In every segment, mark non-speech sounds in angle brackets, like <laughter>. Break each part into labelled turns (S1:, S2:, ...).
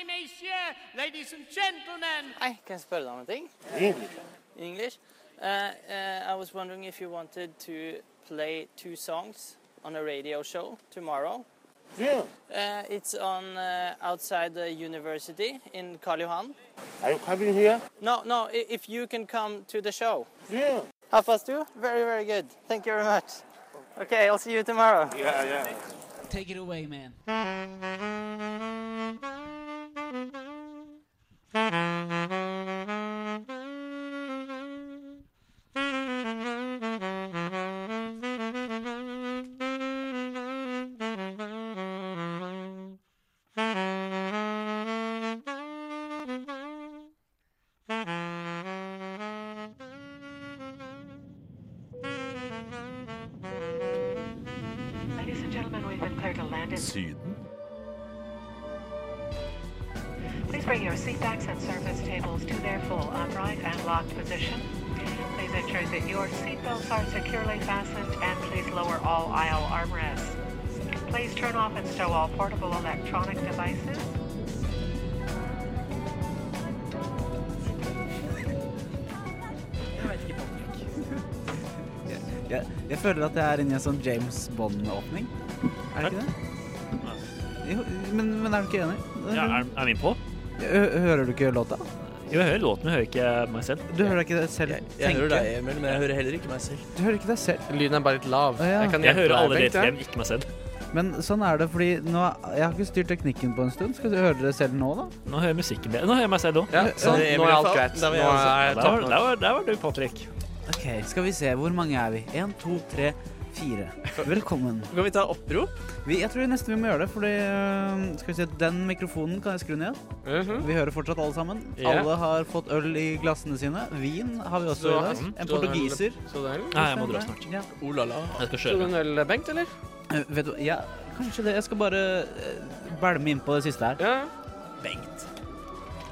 S1: et messieurs, ladies and gentlemen.
S2: Hi, can I spørre deg om en ting? In English. Uh, uh, I was wondering if you wanted to play two songs on a radio show tomorrow.
S3: Yeah.
S2: Uh, it's on uh, outside the university in Karl Johan.
S3: Are you coming here?
S2: No, no, i- if you can come to the show.
S3: Yeah.
S2: Half past two? Very, very good. Thank you very much. Okay, I'll see you tomorrow.
S3: Yeah, yeah.
S4: Take it away, man.
S5: Ladies and gentlemen, we've been cleared to land in.
S6: Syden.
S5: Please bring your seat backs and service tables to their full upright and locked position. Please ensure that your seat belts are securely fastened and please lower all aisle armrests. Please turn off and stow all portable electronic devices.
S4: Jeg, jeg føler at jeg er inne i en sånn James Bond-åpning. Er det ikke det? Jo, men, men er du ikke enig?
S7: Ja, er, er min på?
S4: Hø- Hører du ikke låta?
S7: Jo, jeg hører låten, men jeg hører ikke meg selv.
S4: Du hører deg ikke selv tenke?
S8: Jeg hører deg, Emil, men jeg hører heller ikke meg selv.
S4: Du hører ikke deg selv.
S8: Lyden er bare litt lav.
S4: Å, ja.
S8: kan
S7: Jeg
S8: hjelpe
S7: hører
S8: deg,
S7: alle
S8: Bengt,
S7: deres
S8: ja.
S7: hjem, ikke meg selv.
S4: Men sånn er det, fordi nå Jeg har ikke styrt teknikken på en stund. Skal du høre dere selv nå, da?
S7: Nå hører jeg musikken bedre. Nå hører jeg meg selv òg.
S8: Ja,
S4: Sånn.
S8: sånn.
S4: Emil
S8: Nå er alt
S4: fall.
S8: greit.
S4: Da var jeg
S8: Nå
S4: også.
S8: er
S7: Der,
S8: jeg
S7: var-
S8: tatt
S7: der, var- der var du, Patrick.
S4: Ok, skal vi se. Hvor mange er vi? Én, to, tre, fire. Velkommen.
S8: Kan vi ta opprop?
S4: Vi, jeg tror nesten vi må gjøre det, fordi øh, Skal vi se, den mikrofonen kan jeg skru ned.
S7: Mhm.
S4: Vi hører fortsatt alle sammen.
S8: Ja.
S4: Alle har fått øl i glassene sine. Vin har vi også
S8: Så-
S4: i dag. En portugiser.
S8: Så den,
S7: Nei, jeg må dra snart.
S4: Ja.
S8: oh la la.
S7: Jeg skal
S8: Så
S7: kjøre.
S8: den øl, Bengt, eller?
S4: Eh, vet du hva, ja, kanskje det. Jeg skal bare eh, bælme inn på det siste her.
S8: Ja.
S4: Bengt.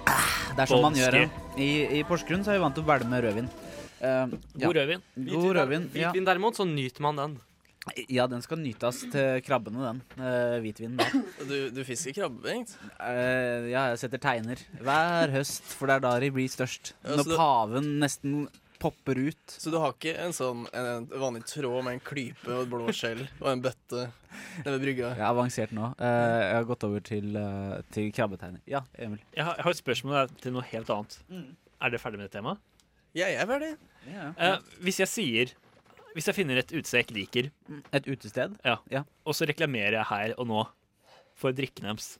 S4: Ah, det er sånn man gjør det. I, I Porsgrunn så er vi vant til å bælme rødvin. Eh, ja.
S7: God rødvin.
S4: God rødvin. Ja.
S8: Hvitvin derimot, så nyter man den.
S4: ja, den skal nytes til krabbene, den. Uh, hvitvinen. da.
S9: Du, du fisker krabbe, Bengt?
S4: Eh, ja, jeg setter teiner hver høst, for det er da de blir størst.
S9: Ja,
S4: Når
S9: så det-
S4: paven nesten popper ut.
S9: Så du har ikke en sånn en, en vanlig tråd med en klype og et blå skjell og en bøtte nede ved brygga?
S4: Jeg er avansert nå. Eh, jeg har gått over til, eh, til krabbeteiner. Ja, Emil.
S7: Jeg har, jeg har et spørsmål der til noe helt annet. Er dere ferdig med det temaet?
S9: Ja, jeg er ferdig.
S7: Eh, hvis jeg sier Hvis jeg finner et utested jeg ikke liker,
S4: Et utested?
S7: og så reklamerer jeg her og nå for drikken deres,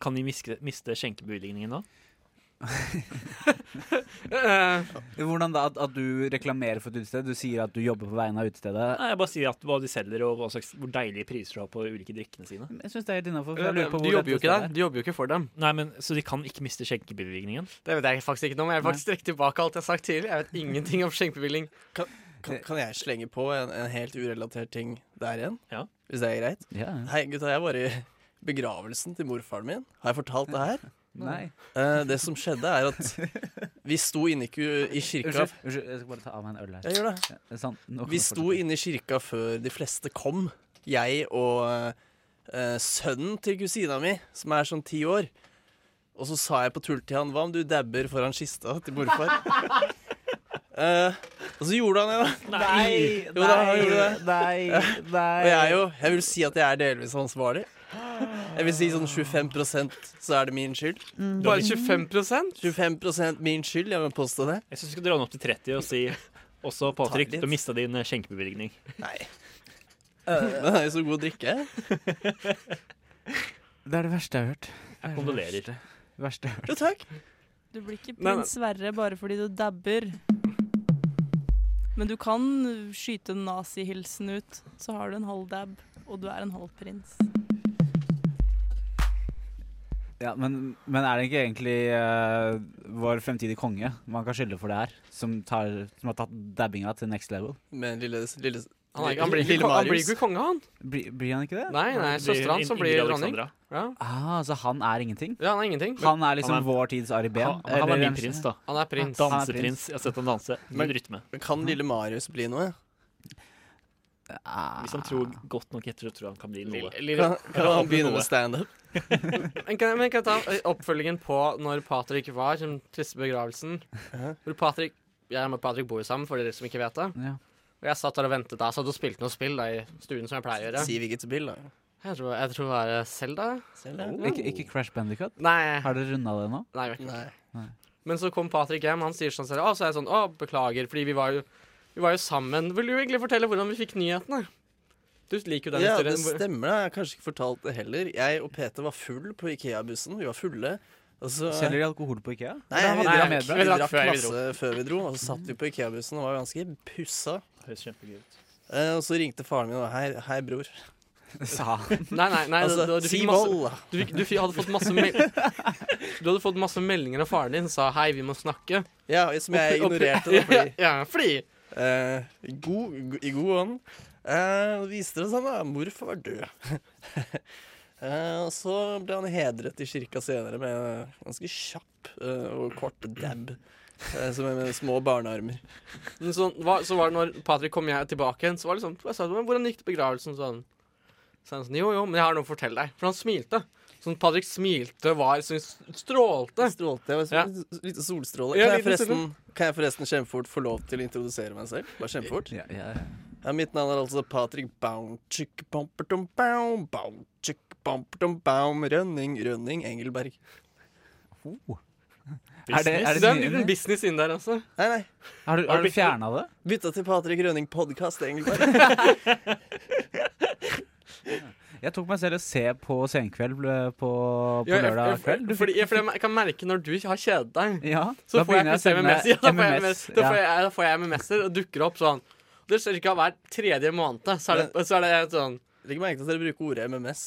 S7: kan de miske, miste skjenkebevilgningen da?
S4: Hvordan da? At, at du reklamerer for et utested? Du sier at du jobber på vegne av utestedet?
S7: Nei, jeg bare sier at hva de selger, og hva slags, hvor deilige priser de har på de ulike drikkene sine.
S4: Jeg syns det er helt innafor.
S8: Du jobber jo ikke der. Du jobber jo ikke for dem.
S7: Nei, men Så de kan ikke miste skjenkebevilgningen?
S8: Det vet jeg faktisk ikke noe om. Jeg vil faktisk trekke tilbake alt jeg har sagt tidligere. Jeg vet ingenting om skjenkebevilling.
S9: Kan, kan jeg slenge på en, en helt urelatert ting der igjen?
S7: Ja.
S9: Hvis det er greit?
S4: Ja.
S9: Hei, gutta. Jeg var i begravelsen til morfaren min. Har jeg fortalt det her?
S4: Nei.
S9: Eh, det som skjedde, er at vi sto inne i, ku- i kirka
S4: Unnskyld, unnskyld, jeg skal bare ta av meg en øl her.
S9: Jeg gjør det.
S4: Ja, sånn, nå kan
S9: Vi
S4: du
S9: sto
S4: fortsette.
S9: inne i kirka før de fleste kom. Jeg og eh, sønnen til kusina mi, som er sånn ti år. Og så sa jeg på tull til han Hva om du dabber foran kista til morfar? <laughs> Eh, og så gjorde han det, da.
S4: Nei,
S9: Jo da, han gjorde det.
S4: nei, nei.
S9: Og jeg er jo Jeg vil si at jeg er delvis ansvarlig. Jeg vil si sånn 25 så er det min skyld.
S8: Bare 25
S9: 25 min skyld, jeg vil påstå det.
S7: Jeg syns du skal dra den opp til 30 og si også Patrick,
S9: litt.
S7: du mista din eh, skjenkebevilgning.
S9: Men han er jo så god å drikke.
S4: Det er det verste jeg har hørt.
S7: Jeg kondolerer.
S4: Verste jeg har hørt.
S9: Jo, takk.
S10: Du blir ikke
S8: Nei, nei.
S10: prins Sverre bare fordi du dabber. Men du kan skyte en nazihilsen ut, så har du en halv dab, og du er en halv prins.
S4: Ja, men, men er det ikke egentlig eh, vår fremtidige konge man kan skylde for det her? Som, tar, som har tatt dabbinga til next level?
S9: Men lille, lille
S8: Han, er ikke- han, blir ikke, ko- han blir ikke konge, han.
S4: Blir, blir han ikke det?
S8: Nei, nei, søstera hans som blir
S7: Ingrid
S8: dronning.
S7: Alexandra.
S8: Ja.
S4: Ah,
S7: altså,
S4: så han er ingenting?
S8: ja, han er ingenting. Men
S4: Han er liksom
S7: han er-
S4: vår tids Ari Behn?
S7: Han, han er
S4: eller-
S7: min prins, da. Altså,
S8: han er prins.
S4: Han er prins.
S7: Danseprins. Jeg har sett han danse.
S9: Men-
S7: Med rytme.
S9: Kan lille Marius bli noe?
S7: Hvis han tror godt nok etter, så tror jeg han kan bli noe.
S8: Lille,
S9: Kan, kan han begynne
S7: noe.
S9: med standup?
S8: Men kan, men kan jeg ta eh, oppfølgingen på når Patrick var, som triste begravelsen. Hvor Patrick, Jeg og Patrick bor jo sammen, for dere som ikke vet det.
S4: Ja.
S8: Og jeg satt der og ventet da, satt og spilte noe spill da i stuen, som jeg pleier å gjøre.
S9: Si hvilket spill, da.
S8: Jeg tror, jeg tror det var Selda.
S9: Selv, da.
S4: Ikke, ikke Crash Bandicut?
S8: Nei,
S4: Har dere runda det nå?
S8: nei, jeg vet ikke.
S9: Nei.
S8: Men så kom Patrick hjem, han sier sånn selv, og så er jeg sånn, å, beklager, fordi vi var jo, vi var jo sammen. Vil du egentlig fortelle hvordan vi fikk nyhetene? Du liker jo den
S9: Ja, det
S8: historien. hvor-
S9: stemmer. da Jeg har kanskje ikke fortalt det heller. Jeg og Peter var full på Ikea-bussen. Vi var fulle. Og så,
S4: Selger de alkohol på IKEA?
S9: nei,
S4: Da hadde
S9: vi
S8: jeg
S9: drakk, vi
S8: medbrakt. Vi drakk
S9: drakk
S8: før vi
S9: masse før vi dro, og så satt vi på Ikea-bussen og var ganske pussa.
S7: Høres kjempegøy ut.
S9: Eh, Og så ringte faren min og hei, hei bror.
S4: Sa han.
S8: Nei, nei, nei.
S9: Altså,
S8: du, du,
S9: si
S8: fikk masse,
S9: vold! da.
S8: du, fikk, du fikk, hadde fått masse mel <laughs> Du hadde fått masse meldinger av faren din, sa hei, vi må snakke.
S9: Ja, som jeg
S8: Og- og-
S9: ignorerte. Da, fordi
S8: <laughs> Ja, fordi
S9: Eh, i god, I god ånd eh, viste det seg da morfar var død. <laughs> Eh, og så ble han hedret i kirka senere med en ganske kjapp eh, og kort dab. eh, som er med små barnearmer.
S8: Men så, hva, så var det når Patrick kom jeg tilbake igjen, så var det sånn jeg sa, «Men Hvordan gikk det begravelsen? Sånn. Så han sånn Jo, jo, men jeg har noe å fortelle deg. For han smilte. Sånn Patrick smilte, var så strålte.
S9: Strålte jeg,
S8: Ja.
S9: var en liten solstråle.
S8: Ja,
S9: Kan jeg,
S8: liten
S9: forresten, kan jeg forresten kjempefort få lov til å introdusere meg selv? Bare kjempefort.
S4: Ja, ja.
S9: Ja, mitt navn er altså Patrick Baum. Chick, bumpertum, baum, baum, chick, bumpertum, baum. Rønning, Rønning, Engelberg.
S4: Er det, er
S8: Så
S4: det,
S8: det er en
S4: nye,
S8: liten
S4: eller?
S8: business inn der altså. også.
S9: Nei, nei.
S4: Har du, har du fjerna det?
S9: Bytta til Patrick Rønning podkast,
S8: <laughs>
S9: Engelberg.
S4: Jeg tok meg selv i å se på Senkveld ble- på, på
S8: Ja, jeg-
S4: lørdag
S8: jeg-
S4: kveld. Du fikk-
S8: Fordi, ja, fordi jeg kan merke når du har kjedet deg,
S4: Ja, da
S8: så får jeg
S4: begynner
S8: plutselig MMS. Ja, da får jeg
S4: MMS.
S8: MMS. Da får
S4: ja.
S8: jeg, da får jeg MMS-er og dukker opp sånn. Det skjer ikke hver tredje måned. Så er det, så er det sånn
S9: Legg merke til at dere bruker ordet MMS.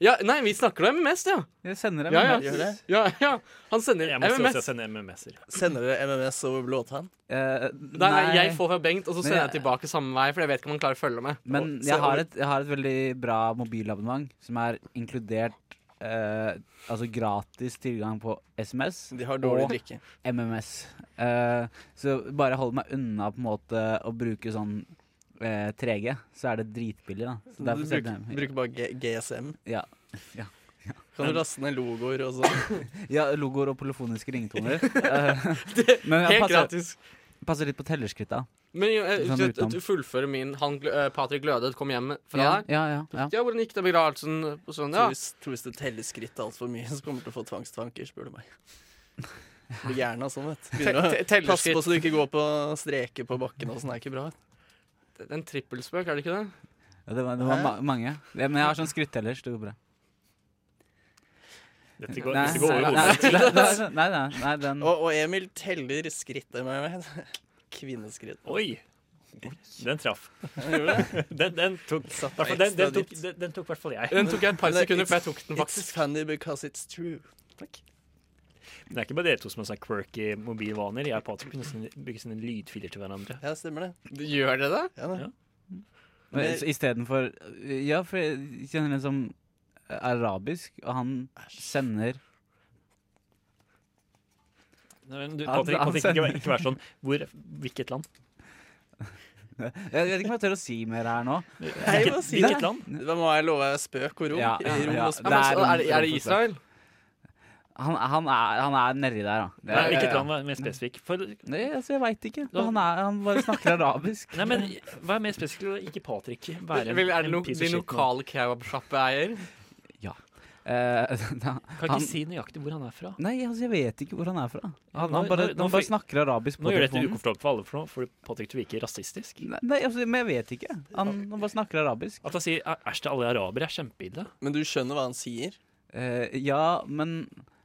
S8: Ja, nei, vi snakker om MMS, ja.
S4: Jeg sender dem
S8: Ja, ja.
S9: Gjør det?
S8: Ja, ja. Han sender
S7: Jeg må
S8: MMS.
S7: også sende MMS-er.
S9: Sender dere MMS over blåtann?
S4: Eh,
S8: Nei, nei, jeg får fra Bengt, og så
S4: Men
S8: sender jeg
S4: jeg-
S8: tilbake samme vei. For jeg vet ikke om han klarer å følge med.
S4: Men
S9: Og se
S4: jeg har,
S9: over-
S4: et, jeg har et veldig bra mobilabonnement som er inkludert eh, Altså gratis tilgang på SMS
S9: De har dårlig
S4: Og-
S9: drikke.
S4: MMS. Eh, så bare hold meg unna på en måte å bruke sånn eh, 3G, så er det dritbillig, da. Så
S9: Du
S4: derfor
S9: bruker,
S4: setter jeg-
S9: bruker bare G GSM.
S4: Ja. Ja.
S9: Kan du laste ned logoer og sånn?
S4: ja, logoer og polofoniske
S8: <laughs>
S4: ringetoner. Eh, Men jeg
S8: Helt
S4: passer,
S8: gratis.
S4: passer litt på tellerskrittet.
S8: Men jo, jeg,
S4: Sånn
S8: så at-
S4: utenom.
S8: at du fullfører min han, gl- eh, Patrick Lødet kom hjem fra
S4: Ja,
S8: deg.
S4: ja, ja, ja.
S8: Ja, hvordan gikk det i begravelsen? Og sånn,
S9: Så
S8: ja.
S9: hvis, tror hvis du teller skritt altfor mye, så kommer du til å få tvangstanker, spør du meg. Du Blir gæren av sånn, vet du. Begynner
S8: Te- te-
S9: å passe på
S8: Tellerskritt.
S9: så du ikke går på streker på bakken og sånn. er ikke bra.
S8: En trippelspøk, er det ikke det?
S4: ja det var, det var
S9: Hæ?
S4: ma mange. Ja, men jeg har sånn skritteller, så det går bra.
S7: Dette
S4: Nei,
S7: går, dette går
S4: nei,
S7: over
S4: nei,
S7: hodet.
S4: nei, nei, nei, nei, nei, den
S9: Og, og Emil teller skritt med meg. <laughs> Kvinneskritt.
S7: Oi! Den traff.
S9: Han gjorde det.
S7: Den, den <laughs> tok
S9: Satt
S7: hvertfall-
S9: meg
S7: den, den
S9: ekstra
S7: tok,
S9: dypt.
S7: den, den tok i hvert fall jeg.
S8: Den tok jeg et
S4: <laughs>
S8: par
S9: Men det-
S8: sekunder, for jeg tok den faktisk.
S9: It's funny because it's true.
S7: Men Det er ikke bare dere to som har sånne quirky mobilvaner. Jeg og Patrick kunne nesten bygge sånne lydfiler til hverandre.
S9: Ja, stemmer det.
S8: Gjør det det?
S9: Ja, da.
S7: Ja.
S4: Men så Istedenfor Ja, for jeg kjenner en som er arabisk, og han sender
S7: Nei, men Du,
S4: Han-
S7: Patrick,
S4: han
S7: Patrick
S4: sender-
S7: ikke, vær- ikke vær sånn. Hvor, hvilket land?
S4: Jeg vet ikke om jeg tør å si mer her nå.
S9: Nei, hva
S7: Hvilket,
S9: sier
S7: hvilket land?
S9: Da må jeg love spøk og rom.
S4: Ja, ja, ja.
S9: rom og
S8: Ja,
S9: spøk.
S8: men,
S4: Det er
S8: så, er, det, er det
S4: en-
S8: Israel?
S4: Han, han, er, han er nedi der, da. Det
S7: Nei,
S4: er-
S7: hvilket land var mer spesifikk? For,
S4: Nei, altså, jeg veit ikke. Han, er, han bare snakker
S7: <laughs>
S4: arabisk.
S7: nei, men Hva er mer spesifikk? Ikke Patrick. Være en,
S8: Vel, er det
S7: en
S8: no,
S7: piece
S8: de
S7: of shit. nå.
S8: lokale <laughs> kebabsjappeeier?
S4: Eh, da,
S7: Kan
S4: han-
S7: ikke si nøyaktig hvor han er fra.
S4: nei, altså, jeg vet ikke hvor han er fra. Han,
S7: Nå-
S4: han, bare,
S7: nå- nå
S4: han
S7: får-
S4: bare snakker arabisk på
S7: Nå gjør dette
S4: telefonen.
S7: ukomfortabelt for alle, for nå får Patrick til å virke rasistisk.
S4: Nei, nei, altså, men jeg vet ikke. Han, han bare snakker arabisk.
S7: At han sier "Æ- 'æsj til alle arabere' er kjempeille.
S9: Men du skjønner hva han sier?
S4: Eh, ja, men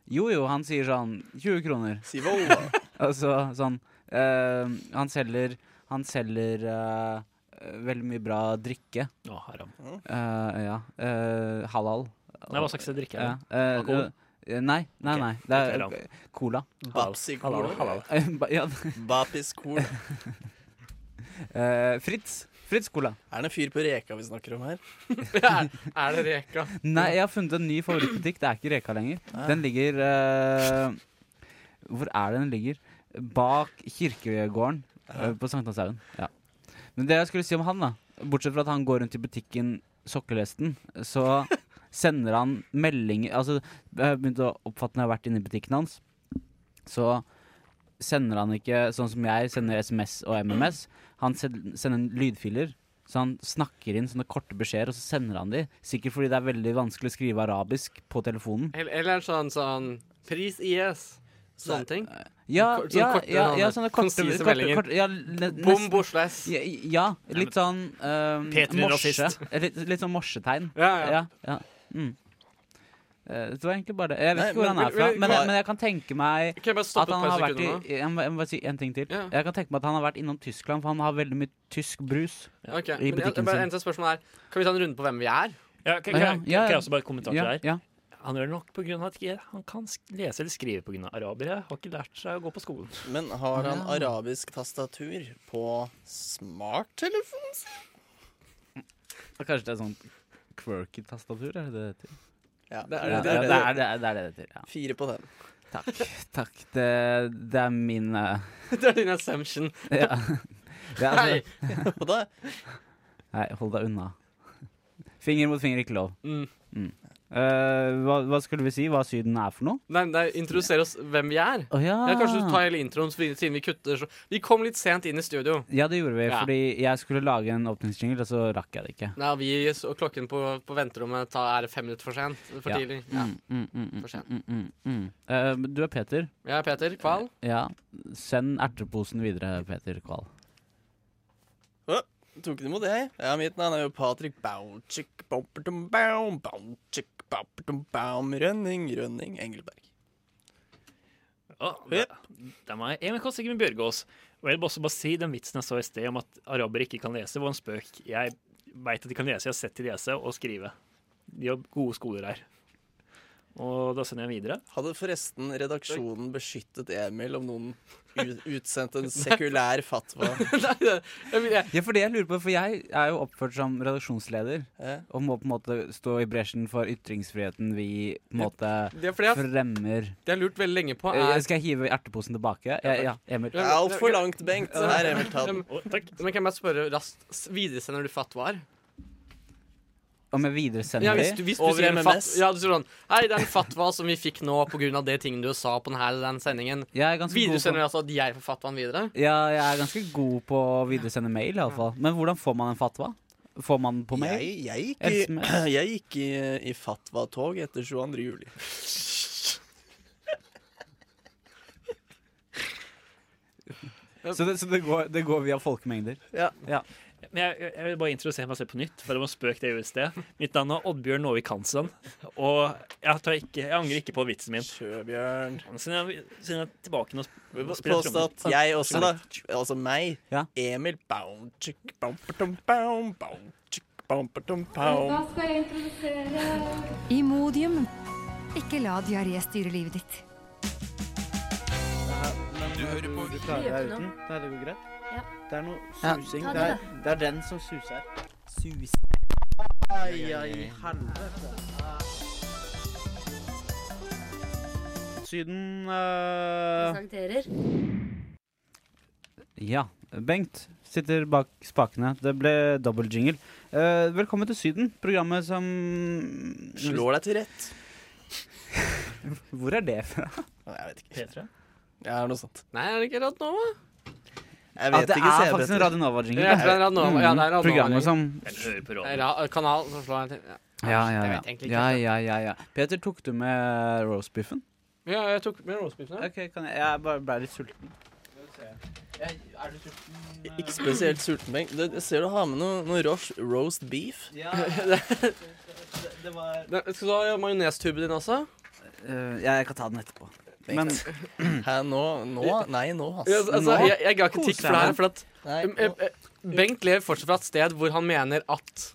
S4: Jo jo, han sier sånn 20 kroner.
S9: Si vold, da.
S4: Altså sånn eh, Han selger Han selger eh, veldig mye bra drikke.
S7: Å, haram.
S4: Eh, ja. eh, halal.
S7: Nei, hva slags drikke
S4: Ja,
S7: er det?
S4: eh,
S7: Alkohol?
S4: eh, Nei, nei,
S7: Ok,
S4: nei. Det er
S7: ok,
S4: eh, cola. <laughs>
S9: Bapsi cola.
S7: halal.
S4: Ba- ja.
S9: Bapis cola.
S4: eh, Fritz. Fritz Cola.
S9: Er det en fyr på Reka vi snakker om her?
S8: er, er det Reka?
S4: Nei, jeg har funnet en ny favorittbutikk. Det er ikke Reka lenger.
S9: Nei.
S4: Den ligger eh, Hvor er det den ligger? Bak kirkegården eh, på Sankthanshaugen. Ja. Men det jeg skulle si om han, da, Bortsett fra at han går rundt i butikken sokkelesten, så sender han meldinger Altså, jeg har begynt å oppfatte når jeg har vært inne i butikken hans, så sender han ikke sånn som jeg sender SMS og MMS. Han send- sender lydfiler. Så han snakker inn sånne korte beskjeder, og så sender han de. Sikkert fordi det er veldig vanskelig å skrive arabisk på telefonen.
S8: Eller- Eller sånn sånn Pris IS. Sånne ting.
S4: eh, Ja,
S8: Sånne
S4: ja,
S8: korte,
S4: ja, ja,
S8: sånne
S4: sånne korte,
S8: konsise
S4: korte,
S8: meldinger.
S4: korte ja, ne-
S8: Bom
S4: nesten-
S8: Oslo S.
S4: Ja, ja, litt sånn um,
S7: Peter er
S4: morse.
S7: rasist.
S4: Litt, litt sånn morsetegn.
S8: Ja, ja.
S4: Ja, ja. Mm. Eh, Det var egentlig bare det. Jeg vet
S9: Nei,
S4: ikke hvor
S9: men
S4: han er
S8: vil-
S4: fra,
S8: vil-
S4: men,
S9: hva-
S4: men jeg kan tenke meg
S8: Kan jeg bare
S4: at
S8: stoppe
S4: han
S8: et
S4: har
S8: par
S4: vært i
S8: sekunder nå?
S4: Jeg må, jeg må bare si en ting til.
S8: Ja.
S4: Jeg kan tenke meg at han har vært innom Tyskland, for han har veldig mye tysk brus.
S8: Ok,
S4: i
S8: men jeg,
S4: butikken
S8: bare
S4: sin.
S8: eneste spørsmål er Kan vi ta en runde på hvem vi er? <laughs>
S7: Ja, kan, kan,
S4: Ja,
S7: kan,
S4: ja, ja.
S7: jeg også bare kommentar til
S4: Ja,
S7: det her?
S4: ja.
S7: Han gjør det nok på grunn av at ikke han kan sk- lese eller skrive på grunn av arabere. Har ikke lært seg å gå på skolen.
S9: Men har han arabisk tastatur på smarttelefonen sin?
S4: Kanskje det er sånn quirky tastatur? Er det det det heter?
S9: Ja,
S8: Det
S4: Ja,
S8: er-
S4: det er det er- det er det det heter. Ja.
S9: Fire på den.
S4: Takk. takk. Det, det er min <laughs> eh,
S8: det er din assumption.
S4: <laughs> ja. Det er,
S8: Hei!
S4: altså,
S9: Og da
S4: nei, hold deg unna. Finger mot finger, ikke lov.
S8: Mm.
S4: Eh, hva, hva skulle vi si? Hva Syden er for noe?
S8: Nei, men det er introdusere oss hvem vi er.
S4: Å ja.
S8: Ja, kanskje du tar hele introen så vi- siden vi kutter så Vi kom litt sent inn i studio.
S4: Ja, det gjorde vi,
S8: Ja.
S4: fordi jeg skulle lage en åpningsjingle, og så rakk jeg det ikke.
S8: Nei, vi og klokken på, på venterommet ta, er fem minutter for sent. For
S4: Ja.
S8: tidlig. Ja.
S4: Mm, mm, mm, mm,
S8: For sent.
S4: mm, mm, mm. Eh, men du er Peter.
S8: Jeg er Peter Kval.
S4: Ja. Send erteposen videre, Peter Kval.
S9: tok du imot det, jeg. Ja, mitt navn er jo Patrick Bauchik, Boppertum Baum, Bauchik, Boppertum Baum, Rønning, Rønning, Engelberg.
S7: Å, det, det er meg. Emil Kåss Sigmund Bjørgaas. Og jeg vil også bare si den vitsen jeg så i sted om at arabere ikke kan lese, var en spøk. Jeg veit at de kan lese, jeg har sett de lese og skrive. De har gode skoler her. Og da sender jeg videre.
S9: Hadde forresten redaksjonen beskyttet Emil om noen u- utsendte en sekulær fatwa?
S8: Nei, det- jeg vil- jeg-
S4: Ja, for det jeg lurer på, for jeg er jo oppført som redaksjonsleder,
S9: Ja.
S4: og må på en måte stå i bresjen for ytringsfriheten vi på en måte
S8: Det er fordi jeg,
S4: fremmer.
S8: det jeg har lurt veldig lenge på,
S4: Eh,
S8: er
S4: Skal jeg hive erteposen tilbake? Ja, ja Emil.
S9: Det er altfor langt, Bengt. Her, Emil, ta den.
S7: Å, takk.
S8: Men kan jeg bare spørre raskt s- Videresender du fatwaer?
S4: Om jeg videresender
S8: Ja, hvis
S4: de?
S8: du, hvis du
S9: Over
S8: sier en fat,
S9: MMS.
S8: ja, du sier sånn Hei, det er en fatwa som vi fikk nå pga. det ting du sa på denne, den sendingen.
S4: Jeg er ganske god på
S8: Videresender du altså at jeg får fatwaen videre?
S4: Ja, jeg er ganske god på å videresende mail, iallfall. Men hvordan får man en fatwa? Får man den på mail?
S9: Jeg, jeg gikk, i,
S4: SMS.
S9: <clears throat> jeg gikk i, i fatwa-tog etter 22. juli.
S4: Så det, så det, går, det går via folkemengder?
S7: Men jeg, jeg- jeg vil bare introdusere meg selv på nytt, for det var en spøk det jeg gjorde i sted. Mitt navn er Oddbjørn Nåvik Hansen, og jeg, tar ikke, jeg angrer ikke på vitsen min.
S9: Sjøbjørn.
S7: Siden jeg, siden jeg er tilbake nå og spiller trommer.
S9: Påstått. Jeg også, da. Altså meg.
S4: Ja.
S9: Emil Bauchik, Baupertum Baum, Bauchik, Baupertum Baum.
S3: Da skal jeg introdusere
S6: Imodium. Ikke la diaré styre livet ditt.
S2: Nei, det går greit.
S3: Ja.
S2: Det er noe susing.
S3: Ta det,
S2: Det er, det er den som suser.
S9: Sus.
S2: Ai, ai, helvete.
S4: Syden
S3: eh, presenterer.
S4: Ja. Bengt sitter bak spakene. Det ble dobbel jingle. Eh, velkommen til Syden, programmet som
S9: Slår deg til rett.
S4: Hvor er det fra?
S9: Jeg vet ikke.
S7: P3?
S9: Ja, noe sånt.
S8: Nei, er det ikke rett nå? da?
S4: At
S9: Jeg vet
S4: det
S9: ikke,
S4: er
S9: ser jeg
S4: faktisk en
S9: etter.
S4: Radio Nova-jingle.
S8: Ja, det er Radio Nova. Ja, det er Radio
S4: Mm.
S8: Nova.
S4: Programmet som
S7: Jeg hører på
S8: Nei,
S7: radio.
S8: ra kanal som slår jeg til. Ja.
S4: Ja, ja,
S8: Jeg
S4: ja.
S8: vet egentlig ikke.
S4: ja, ja, ja, ja. Peter, tok du med roastbiffen?
S8: ja, jeg tok med roastbiffene.
S4: Ok, kan jeg, jeg bare ble litt sulten.
S9: Ikke spesielt sulten, Bengt. Det- Jeg ser du har med noe, noe rosh, roast beef.
S8: Skal du ha majonestuben din også?
S4: Eh, jeg kan ta den etterpå. Men
S9: Hæ, nå? nå? Nei, nå, ass.
S8: Ja, altså, jeg, jeg ga kritikk for det her, for at
S9: Nei,
S8: em, em,
S9: nå.
S8: em, Bengt lever fortsatt fra et sted hvor han mener at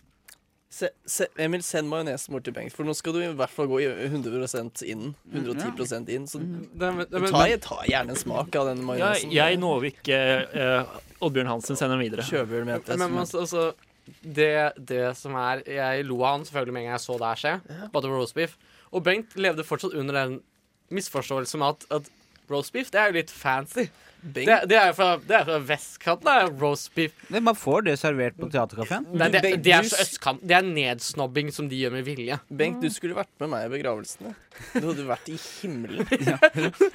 S9: Se, se, Emil, send majonesen bort til Bengt, for nå skal du i hvert fall gå i 100 inn. 110 inn. Så
S8: det, men, men,
S9: ta, ta gjerne en smak av den
S7: Ja,
S9: majonesen.
S7: jeg, Nåvik, eh, eh, Oddbjørn Hansen sender den videre.
S9: Sjøbjørn mente jeg.
S8: men, men altså, altså, det, det som er Jeg lo av han selvfølgelig med en gang jeg så det her skje. Bare det var roastbiff. Og Bengt levde fortsatt under den misforståelsen med at, at Roast beef, det er jo litt fancy.
S9: Bing.
S8: Det, det er jo fra, det er fra vestkanten, det er roast beef.
S4: Nei, Man får det servert på <laughs> teaterkafeen.
S8: Nei, det,
S9: Bengt,
S8: det er
S9: du
S8: så østkant. Det er nedsnobbing som de gjør med vilje.
S9: Bengt, du skulle vært med meg i begravelsene. Du hadde vært i himmelen.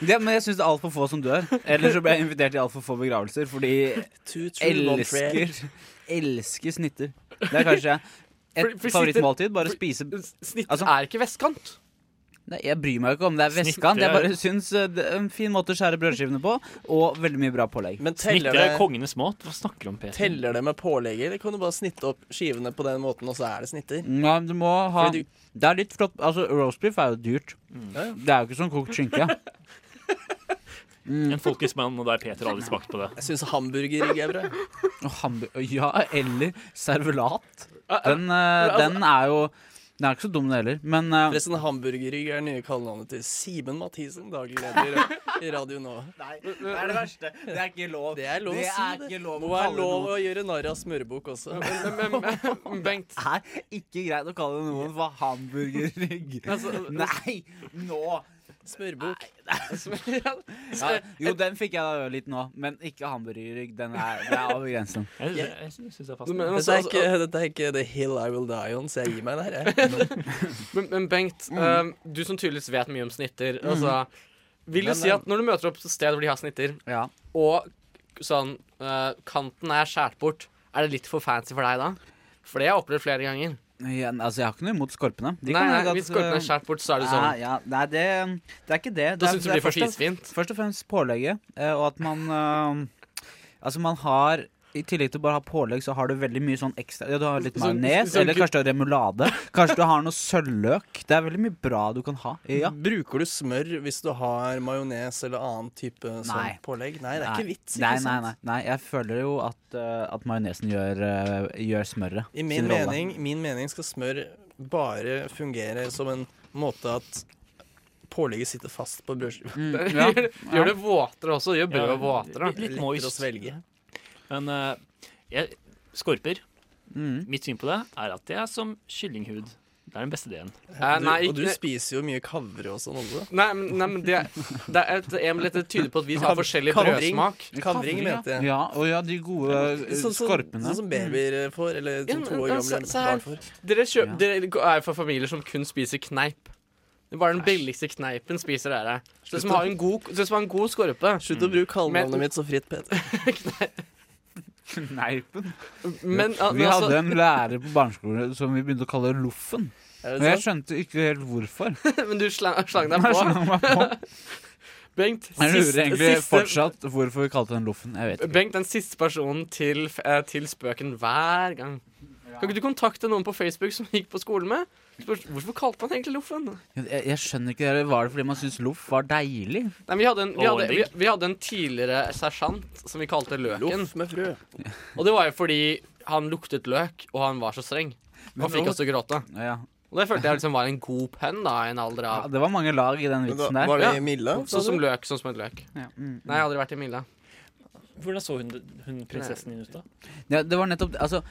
S4: Det, men jeg syns det er altfor få som dør. Ellers så ble jeg invitert til altfor få begravelser, fordi
S9: Two true, one prayer.
S4: elsker Elsker snitter. Det er kanskje et
S8: For- for
S4: favorittmåltid. Bare spise
S8: Snitt
S4: Altså-
S8: er ikke vestkant.
S4: Nei, Jeg bryr meg jo ikke om det er vestkant. Jeg bare syns eh, det er en fin måte å skjære brødskivene på, og veldig mye bra pålegg.
S9: Men
S7: Snitter
S9: teller det,
S7: er kongenes mat. Hva snakker du om, Peter?
S9: teller det med pålegget, eller kan du bare snitte opp skivene på den måten, og så er det snitter?
S4: Nei, du må ha
S9: Fordi du-
S4: Det er litt flott Altså, roast beef er jo dyrt.
S8: Mm.
S9: Ja, ja.
S4: Det er jo ikke som kokt <laughs> skinke.
S7: En folkets mann, og da er Peter aldri smakt på det.
S9: Jeg syns hamburgerrygg er bra.
S4: Og hambu- Ja, eller servelat.
S8: Ah, ah,
S4: Den, eh, den er jo Den er ikke så dum, den heller. Men eh,
S9: Forresten, sånn hamburgerrygg er nye kallenavnet til Simen Mathisen, daglig leder i Radio Nå.
S4: Det er det verste. Det er ikke lov.
S9: Det er lov å
S4: Det
S9: si
S4: er
S9: det.
S4: ikke lov å
S9: Må være
S4: kalle
S9: lov å gjøre narr av smørbukk også.
S8: Men, men, men Bengt,
S4: <laughs> Det er ikke greit å kalle noen for hamburgerrygg.
S8: <laughs> Altså,
S4: Nei, nå!
S9: Smørbukk.
S8: Altså,
S4: Ja, jo, den fikk jeg da litt nå, men ikke hamburgerrygg. Den er, det er over grensen.
S7: Jeg, jeg, jeg synes det er
S8: Altså, Men-
S7: fascinerende.
S9: Dette er, ikke,
S8: men-
S9: dette er ikke The Hill I Will Die On, så jeg gir meg der, jeg.
S8: men, men Bengt eh, du som tydeligvis vet mye om snitter altså, Vil du
S9: Men,
S8: si at når du møter opp et sted hvor de har snitter,
S4: Ja.
S8: og k- sånn eh, kanten er skåret bort, er det litt for fancy for deg da? For det har jeg opplevd flere ganger.
S4: Igjen, altså, jeg har ikke noe imot skorpene. De
S8: Nei,
S4: kan
S8: nei,
S4: godt, eh,
S8: Hvis skorpen er skåret bort, så er
S4: ja,
S8: det sånn.
S4: ja, nei, det, det er ikke det.
S8: Da
S4: er-
S8: syns du
S4: er
S8: det blir for
S4: først og-
S8: fisefint.
S4: Først og fremst pålegget, eh, og at man eh, Altså, man har i tillegg til å bare ha pålegg, så har du veldig mye sånn ekstra ja, Du har litt
S8: Sånn-
S4: majones,
S8: sånn
S4: eller
S8: gu-
S4: kanskje du har remulade. Kanskje du har noe sølvløk. Det er veldig mye bra du kan
S9: Mm,
S4: ha. Ja.
S9: Bruker du smør hvis du har majones eller annen type
S4: Nei.
S9: sånn pålegg? Nei, det er ikke vits.
S4: Nei,
S9: ikke
S4: nei, nei,
S9: sant?
S4: nei. Jeg føler jo at, eh, at majonesen gjør, eh, gjør smøret.
S9: I min
S4: sin rolle.
S9: mening, min mening skal smør bare fungere som en måte at pålegget sitter fast på brødskiva. <laughs>
S4: Mm, ja.
S8: Gjør det våtere også. Gjør brødet
S7: Ja,
S8: våtere.
S7: litt- litt
S9: Lettere å
S7: moist.
S9: svelge.
S7: Men eh, jeg, skorper,
S4: Mm.
S7: mitt syn på det er at det er som kyllinghud. Det er den beste delen.
S8: Eh,
S9: Du,
S8: nei,
S9: og du
S8: ikke-
S9: spiser jo mye kavre og sånn også.
S8: Nei, men- nei, men det, det er et, en- dette tyder på at vi har
S9: Kav-
S8: forskjellig
S9: kavring.
S8: brødsmak.
S9: Kavring, mente jeg.
S4: Ja, og ja, de gode eh,
S9: Sånn som-
S4: skorpene.
S9: Sånn som babyer får, eller
S8: Ja,
S9: sånn
S8: men-
S9: to år
S8: ja,
S9: gamle
S8: se- se her.
S9: barn får.
S8: Dere, kjøp,
S4: Ja.
S8: dere er fra familier som kun spiser kneip. Det er bare den billigste kneipen spiser dere. Det som har en god, det som har en god skorpe.
S9: Slutt å bruke
S8: Mm. Men-
S9: kallenavnet mitt så fritt, Peter.
S4: <laughs> Kneipen.
S8: Men, al-
S4: Vi
S8: men
S4: hadde
S8: altså,
S4: en lærer på barneskolen som vi begynte å kalle Loffen.
S9: Er
S4: Og
S9: det
S4: jeg
S9: sant?
S4: skjønte ikke helt hvorfor.
S8: <laughs> men du slang, slang deg
S4: Jeg
S8: på.
S4: slang meg
S8: <laughs>
S4: på.
S8: Bengt,
S4: Jeg lurer
S8: siste-
S4: egentlig
S8: siste-
S4: fortsatt hvorfor vi kalte den Loffen. Jeg vet ikke.
S8: Bengt, den siste personen til, f- eh, til spøken hver gang. Kan ikke du kontakte noen på Facebook som gikk på skolen med? Spør, hvorfor kalte man egentlig Loffen?
S4: Jeg, jeg skjønner ikke det. Var det fordi man syntes loff var deilig?
S8: Nei, vi hadde, en, vi,
S7: Å,
S8: hadde, vi,
S7: digg.
S8: vi hadde en tidligere sersjant som vi kalte Løken.
S9: Loff med frø.
S8: Og det var jo fordi han luktet løk, og han var så streng. Og fikk oss til å gråte.
S4: Ja.
S8: Og det følte jeg liksom var en god pønn da, i en alder
S4: ja,
S8: av
S4: Det var mange lag i den
S9: Men da,
S4: vitsen der.
S9: var det
S8: Ja.
S9: Milla? sa
S8: Sånn som
S9: du?
S8: løk, sånn som et løk.
S4: Ja. Mm.
S8: Nei, jeg har aldri vært i Milla.
S7: Hvordan så hun, hun prinsessen din ut, da?
S4: Ja, det var nettopp Altså,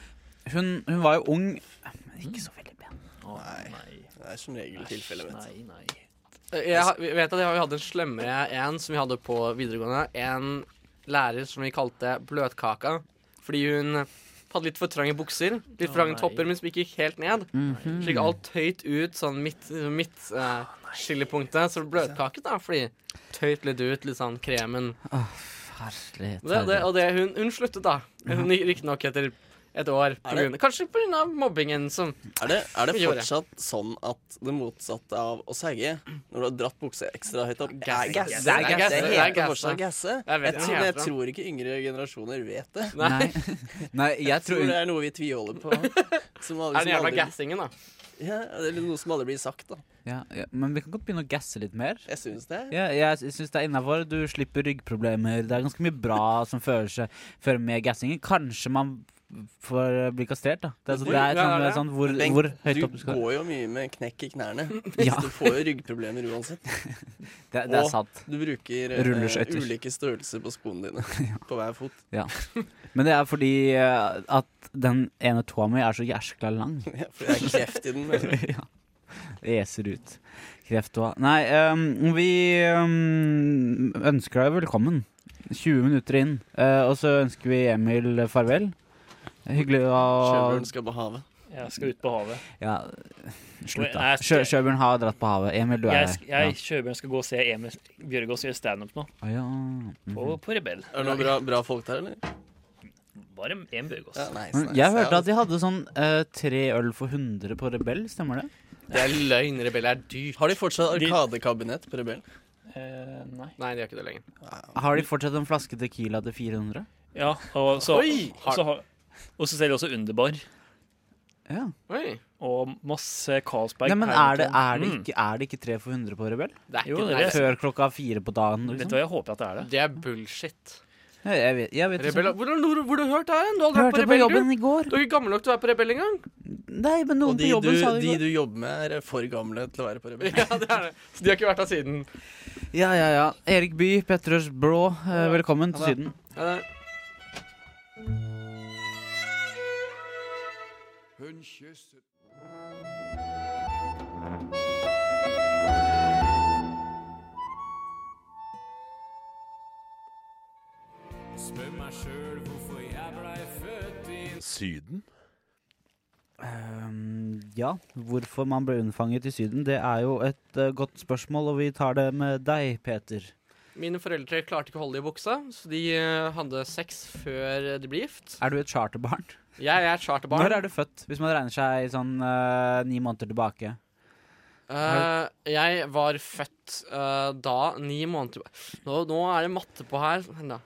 S4: hun, hun var jo ung, men ikke så veldig pen.
S7: Å,
S9: Nei. Det er som regel tilfellet, vet du.
S7: Nei, nei.
S8: Jeg har- vi vet at jeg- vi hadde en slemmere en som vi hadde på videregående. En lærer som vi kalte Bløtkaka. Fordi hun hadde litt for trange bukser. Litt for
S7: Å,
S8: trange
S7: nei.
S8: topper, men som gikk helt ned.
S9: Mhm.
S8: Slik alt tøyt ut, sånn midt, midt eh, skillepunktet. Så bløtkake, da, fordi tøyt litt ut, litt sånn kremen.
S4: Herlighet.
S8: Det, det,
S4: herlighet.
S8: og det, hun, hun sluttet, da. Hun gikk Riktignok etter et år. På
S9: Er det-
S8: grunn, kanskje pga. mobbingen som
S9: Er det, er det
S8: Vi gjorde det.
S9: fortsatt sånn at det motsatte av å segge, når du har dratt bukse ekstra høyt opp
S8: Gasse.
S9: Gasse.
S8: Det er
S9: Det
S8: gasse. Det er
S9: heter
S8: gasse.
S9: fortsatt gasse.
S8: Jeg vet
S9: Jeg,
S8: ikke
S9: tror,
S8: helt
S9: jeg
S8: det.
S9: tror ikke yngre generasjoner vet det.
S8: Nei, <laughs>
S4: Nei. <laughs> Nei, jeg
S9: Jeg tror
S4: tror
S9: det er noe vi tviholder på.
S8: <laughs>
S9: Som alle,
S8: er den
S9: som
S8: jævla
S9: aldri-
S8: gassingen, da.
S9: Ja, eller noe som aldri blir sagt, da.
S4: ja, ja, Men vi kan godt begynne å gasse litt mer.
S9: Jeg syns det.
S4: Ja, jeg syns det er innafor. Du slipper ryggproblemer. Det er ganske mye bra som fører, seg, fører med gassingen. Kanskje man får bli kastrert, da. Det er, så, det er, sånn, det er sånn hvor,
S9: Bengt,
S4: hvor <laughs> høyt opp
S9: du
S4: du skal
S9: går jo mye med knekk i knærne.
S4: <laughs> Ja,
S9: Så du får jo ryggproblemer uansett.
S4: det, det er
S9: og-
S4: sant.
S9: Du bruker eh,
S4: Rulleskøyter.
S9: ulike størrelser på
S4: <laughs>
S9: skoene dine på hver fot. <laughs>
S4: Men det er fordi eh, at den ene tåa mi er så jæskla lang. <laughs>
S9: Ja, for det er kreft i den. vet du.
S4: Ja. Det eser ut kreft og Nei, ehm, vi ehm, ønsker deg velkommen. 20 minutter inn. Eh, og så ønsker vi Emil farvel. Hyggelig å
S9: Sjøbjørn skal på havet.
S7: Jeg skal ut på havet.
S4: Ja, slutt, da.
S7: Nei, jeg
S4: Sjø,
S7: skal-
S4: Sjøbjørn har dratt på havet. Emil, du er
S7: Jeg,
S4: her.
S7: sk- jeg Sjøbjørn skal gå og se Emil Bjørgaas gjøre standup nå.
S4: Å, ja.
S7: På, på Rebell.
S9: Er det noen bra, bra folk der, eller?
S7: Bare Emil Bjørgaas.
S9: Ja, nice,
S4: Men
S9: nice.
S4: Mm, Jeg hørte
S9: Ja.
S4: at de hadde sånn eh, tre øl for 100 på Rebell, stemmer det?
S8: Det er løgn. Rebell er dyrt.
S9: Har de fortsatt arkadekabinett på Rebellen?
S7: Eh, nei.
S8: Nei, de har ikke det lenger.
S4: Har de fortsatt en flaske Tequila til 400?
S7: Ja, og så,
S8: Oi!
S7: og så, har- og så selger de også Underbar
S4: Ja.
S8: Oi.
S7: og masse Carlsberg.
S4: Nei, men er det,
S7: Heineken.
S4: er, det
S7: Mm.
S4: ikke, er det ikke tre for 100 på Rebell?
S8: Det er
S7: Jo,
S8: ikke
S7: det
S8: det.
S7: er-
S4: Før klokka fire på dagen,
S7: Vet du
S4: liksom?
S7: hva, jeg håper at det er det.
S8: Det er bullshit.
S4: Jeg, jeg vet, jeg vet
S8: Rebell,
S4: ikke.
S8: hvor, har du- hvor har du hørt det her? hen? Du har aldri vært på
S4: Hørte på
S8: Rebell, du?
S4: jobben i går.
S8: Du er ikke gammel nok til å være på Rebell
S4: <laughs>
S8: engang.
S4: Nei, men
S9: Og
S4: noen
S9: de
S4: på
S9: du,
S4: jobben sa det
S9: de
S4: i går.
S9: du jobber med, er for gamle til å være på Rebellen.
S8: Ja, det er det. Så de har ikke vært der siden.
S4: Ja, ja, ja. Erik By, Petters Blå, eh, velkommen til
S8: Ha det.
S4: Syden.
S8: Ja, det er.
S9: Syden?
S4: Ehm, ja, hvorfor man ble unnfanget i Syden, det er jo et eh, godt spørsmål, og vi tar det med deg, Peter.
S8: Mine foreldre klarte ikke å holde det i buksa, så de eh, hadde sex før eh, de ble gift.
S4: Er du et charterbarn?
S8: Jeg er charterbarn.
S4: Når er du født? Hvis man regner seg sånn eh, ni måneder tilbake.
S8: Eh, jeg var født eh, da ni måneder nå, nå er det matte på her. Vent Da.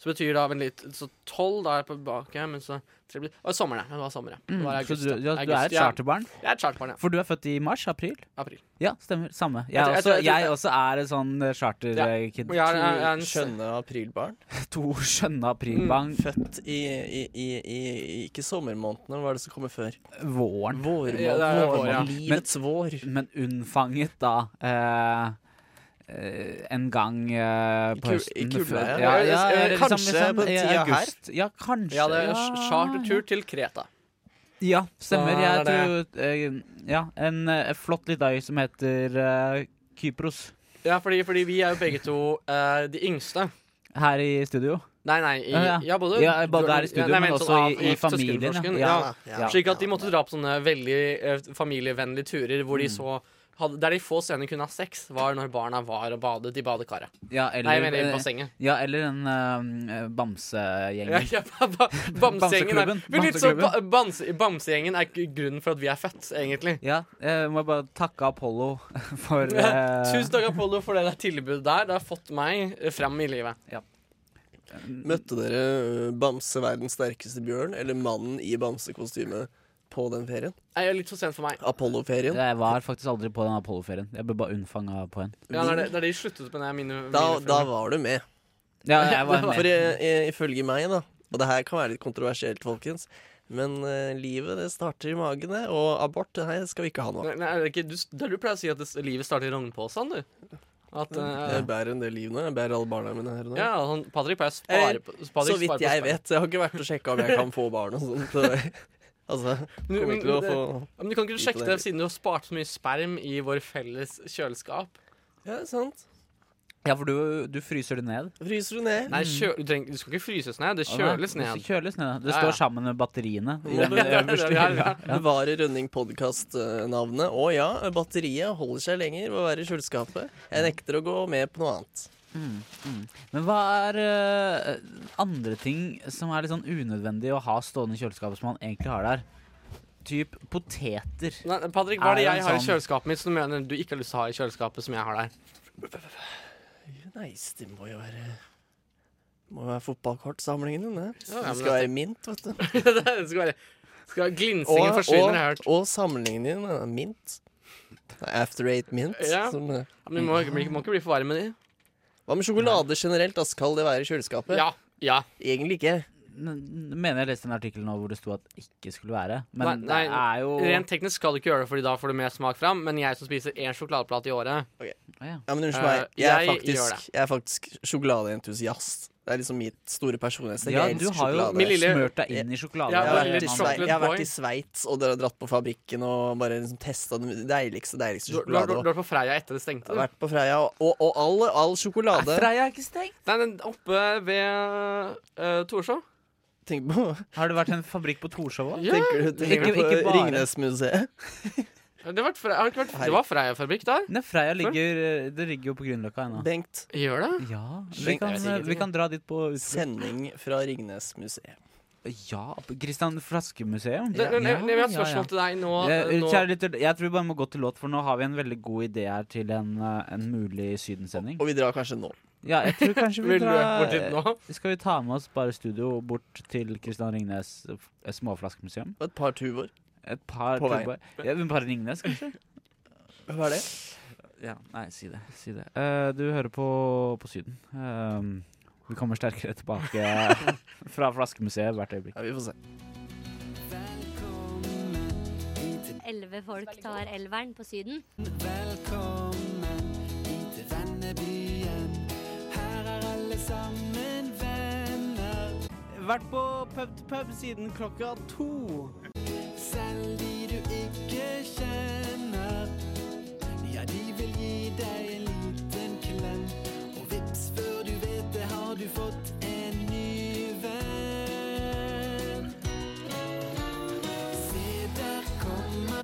S8: Så betyr da vel litt Så tolv da er jeg på bak, men så tre blir Det var sommeren, ja. Det var sommer, ja. Det var i
S4: Mm, Så
S8: august,
S4: du,
S8: da.
S4: ja, du
S8: August,
S4: er et
S8: ja.
S4: charterbarn?
S8: Jeg er et charterbarn, ja.
S4: For du er født i mars? April?
S8: April.
S4: Ja, stemmer. Samme. Jeg,
S8: Jeg tror- jeg
S4: også,
S8: tror- jeg tror-
S4: jeg også er en sånn eh, charterkid.
S8: Og jeg er, jeg er, en
S9: Skjønne aprilbarn.
S4: <laughs> To skjønne aprilbang.
S9: Født i, i, i, i Ikke sommermånedene, hva er det som kommer før?
S4: Våren.
S9: Vårmåned.
S8: Ja, det er vår, ja.
S9: Livets vår.
S4: Men unnfanget, da. Eh, eh, en gang eh,
S9: I
S4: på
S9: kul- i
S4: høsten.
S9: kulda,
S4: før-
S9: ja.
S4: ja, ja,
S9: Eh,
S4: eller liksom-
S9: kanskje på
S4: i
S9: tida her?
S4: august. Ja, kanskje.
S8: Jeg hadde
S4: ja.
S8: ch- chartertur til Kreta.
S4: Ja, stemmer.
S8: Da
S4: Jeg
S8: er det-
S4: tror eh, Ja, en eh, flott liten øy som heter eh, Kypros.
S8: Ja, fordi, fordi vi er jo begge to eh, de yngste.
S4: Her i studio.
S8: Nei, nei, i,
S4: Ja, ja.
S8: ja, både,
S4: Ja, både her i studio,
S8: nei,
S4: men
S8: sånn
S4: også i-
S8: av-
S4: i familien,
S8: søskenflokken.
S4: ja.
S8: Ja. Slik at de måtte dra på sånne veldig eh, familievennlige turer hvor de
S4: Mm.
S8: så hadde, Der de få scener kunne ha sex, var når barna var og badet i badekaret.
S4: Ja,
S8: Nei, jeg mener i
S4: eh,
S8: bassenget.
S4: Ja, eller den uh,
S8: Ja,
S4: bamsegjengen.
S8: ja, ba- ba- Bamsegjengen er
S4: Bamseklubben.
S8: Men litt sånn ba-
S4: Bamseklubben.
S8: bamse- Bamsegjengen er ikke grunnen for at vi er født, egentlig.
S4: Ja, jeg må bare takke Apollo <laughs> for eh,
S8: Tusen takk, Apollo, for det der tilbudet der. Det har fått meg eh, fram i livet.
S9: Møtte dere ø, Bamse verdens sterkeste bjørn, eller mannen i bamsekostyme, på den ferien?
S8: Nei, Det er litt for sent for meg.
S9: Apollo-ferien?
S4: Jeg var faktisk aldri på den Apollo-ferien. Jeg ble bare unnfanga på en.
S8: Ja, da, da de sluttet med det, er mine, mine
S9: Da, da
S8: følelser.
S9: var du med.
S4: Ja, jeg
S9: <laughs>
S4: var
S9: For
S4: med.
S9: i- i- ifølge meg, da, og det her kan være litt kontroversielt, folkens, men ø, livet det starter i magen, det, og abort det her skal vi ikke ha nå.
S8: Nei, nei, er det ikke, du, det er du pleier å si at det, livet starter i rognposen, du. At, eh,
S9: Jeg bærer en del liv nå. Jeg bærer alle barna mine her og nå.
S8: ja, han, Patrick pleier å
S9: Eller,
S8: spare på Patrick
S9: Så vidt
S8: sparer på
S9: jeg
S8: sparen.
S9: vet. Jeg har ikke vært og sjekka om jeg kan få barn og sånt. <laughs> så- Altså,
S8: Men-
S9: kommer
S8: men-
S9: ikke til å
S8: men
S9: få
S8: Ja, Men du kan ikke du sjekke
S9: Ikke
S8: det
S9: det.
S8: siden du har spart så mye sperm i vår felles kjøleskap?
S9: Ja, det er sant.
S4: Ja, for du, du fryser det ned.
S9: Fryser du ned?
S8: Nei, kjø du, trenger, du skal ikke fryses ned. Det
S4: Å, nei,
S8: kjøles
S4: Det
S8: ned.
S4: kjøles ned. Det
S8: Ja,
S4: står
S8: ja.
S4: sammen med batteriene. i
S9: Må
S4: den
S9: du-
S4: øverste
S8: <laughs> det er-
S4: hylla. Ja.
S9: Bevare Rønning podkast-navnet. Og ja, batteriet holder seg lenger ved å være i kjøleskapet. Jeg nekter å gå med på noe annet.
S4: Men hva er eh, andre ting som er litt sånn unødvendig å ha stående i kjøleskapet som man egentlig har der? Typ poteter.
S8: Nei, Patrick,
S4: Er
S8: hva er det
S4: det
S8: jeg har i
S4: sånn-
S8: kjøleskapet mitt som du mener du ikke har lyst til å ha i kjøleskapet som jeg har der?
S9: Nei, det må jo være det må jo være fotballkortsamlingen din. Det
S8: ja,
S9: Det
S8: men
S9: skal
S8: dette-
S9: være mint, vet du.
S8: <laughs> det skal være skal Glinsingen
S9: Og,
S8: forsvinner,
S9: og,
S8: har jeg hørt.
S9: og samlingen din er mint. Det er After eight mint.
S8: Ja.
S9: Som, eh,
S8: Ja, Men du må, må, må ikke bli for varm med de.
S9: hva med sjokolade generelt? Da skal det være i kjøleskapet?
S8: Ja. Ja.
S9: Egentlig ikke.
S4: N- Mener jeg leste en artikkel nå hvor det sto at ikke skulle være. Men
S8: Nei, nei,
S4: det er jo
S8: Rent teknisk skal du ikke gjøre det, Fordi da får du mer smak fram. Men jeg som spiser én sjokoladeplate i året,
S9: Ok. Ja, men unnskyld meg.
S8: Eh,
S9: Jeg er
S8: jeg gjør
S9: faktisk,
S8: det.
S9: jeg er faktisk sjokoladeentusiast. Det er liksom mitt store personlighetstrekk.
S4: Ja,
S9: Jeg
S4: du
S9: elsker
S4: har jo
S9: sjokolade.
S8: Min lille-
S4: smørt deg inn i sjokolade.
S8: Ja,
S9: Jeg har, vært i
S8: Litt
S9: Svei-
S8: chocolate
S9: jeg har vært
S8: boy.
S9: i Sveits og dere har dratt på fabrikken og bare liksom testa den deiligste deiligste
S8: Du du har du
S9: sjokolade.
S8: har vært på Freia etter det stengte?
S9: Jeg har
S8: du?
S9: vært på Freia, og, og, og all, all sjokolade
S4: Freia er ikke stengt.
S8: Nei, den oppe ved uh, Torshov.
S9: Tenk på,
S4: sånn- Har det vært en fabrikk på Torshov òg?
S9: tenker du, tenker du
S4: Ikke- ikke
S9: på
S4: bare.
S9: Ringnesmuseet?
S8: Det, har vært Freia- har det ikke vært, det var Freia-fabrikk der.
S4: Nei, Freia ligger, eh, det ligger jo på Grünerløkka ennå.
S9: Bengt,
S8: Gjør det?
S4: Ja, vi
S9: Skjønt,
S4: kan,
S9: jeg vet ingenting,
S4: vi kan dra dit på utflukt.
S9: sending fra Ringnesmuseet.
S4: Ja, Kristian Flaskemuseum.
S8: Det- det- det- Jeg vil ha et spørsmål til deg nå.
S4: Eh,
S8: nå.
S4: Kjære lytter, jeg tror vi bare må gå til låt, for nå har vi en veldig god idé her til en, eh, en mulig sydensending.
S9: Og vi drar kanskje nå.
S4: Ja, jeg tror kanskje vi
S8: Vil du bort dit
S4: drar
S8: nå?
S4: Skal vi ta med oss bare studio bort til Kristian Ringnes eh, f- eh, småflaskemuseum?
S9: Og et par tuboer.
S4: Et par
S9: På vei.
S4: klubber. Ja, men bare Ringnes, kanskje?
S9: Hva er det?
S4: Ja, nei, si det. Si det. Eh, du hører på, på Syden. Ehm, vi kommer sterkere tilbake fra Flaskemuseet hvert øyeblikk.
S9: Ja, vi får se.
S3: Elleve folk tar elveren på Syden.
S4: Vært på pub til pub siden klokka to.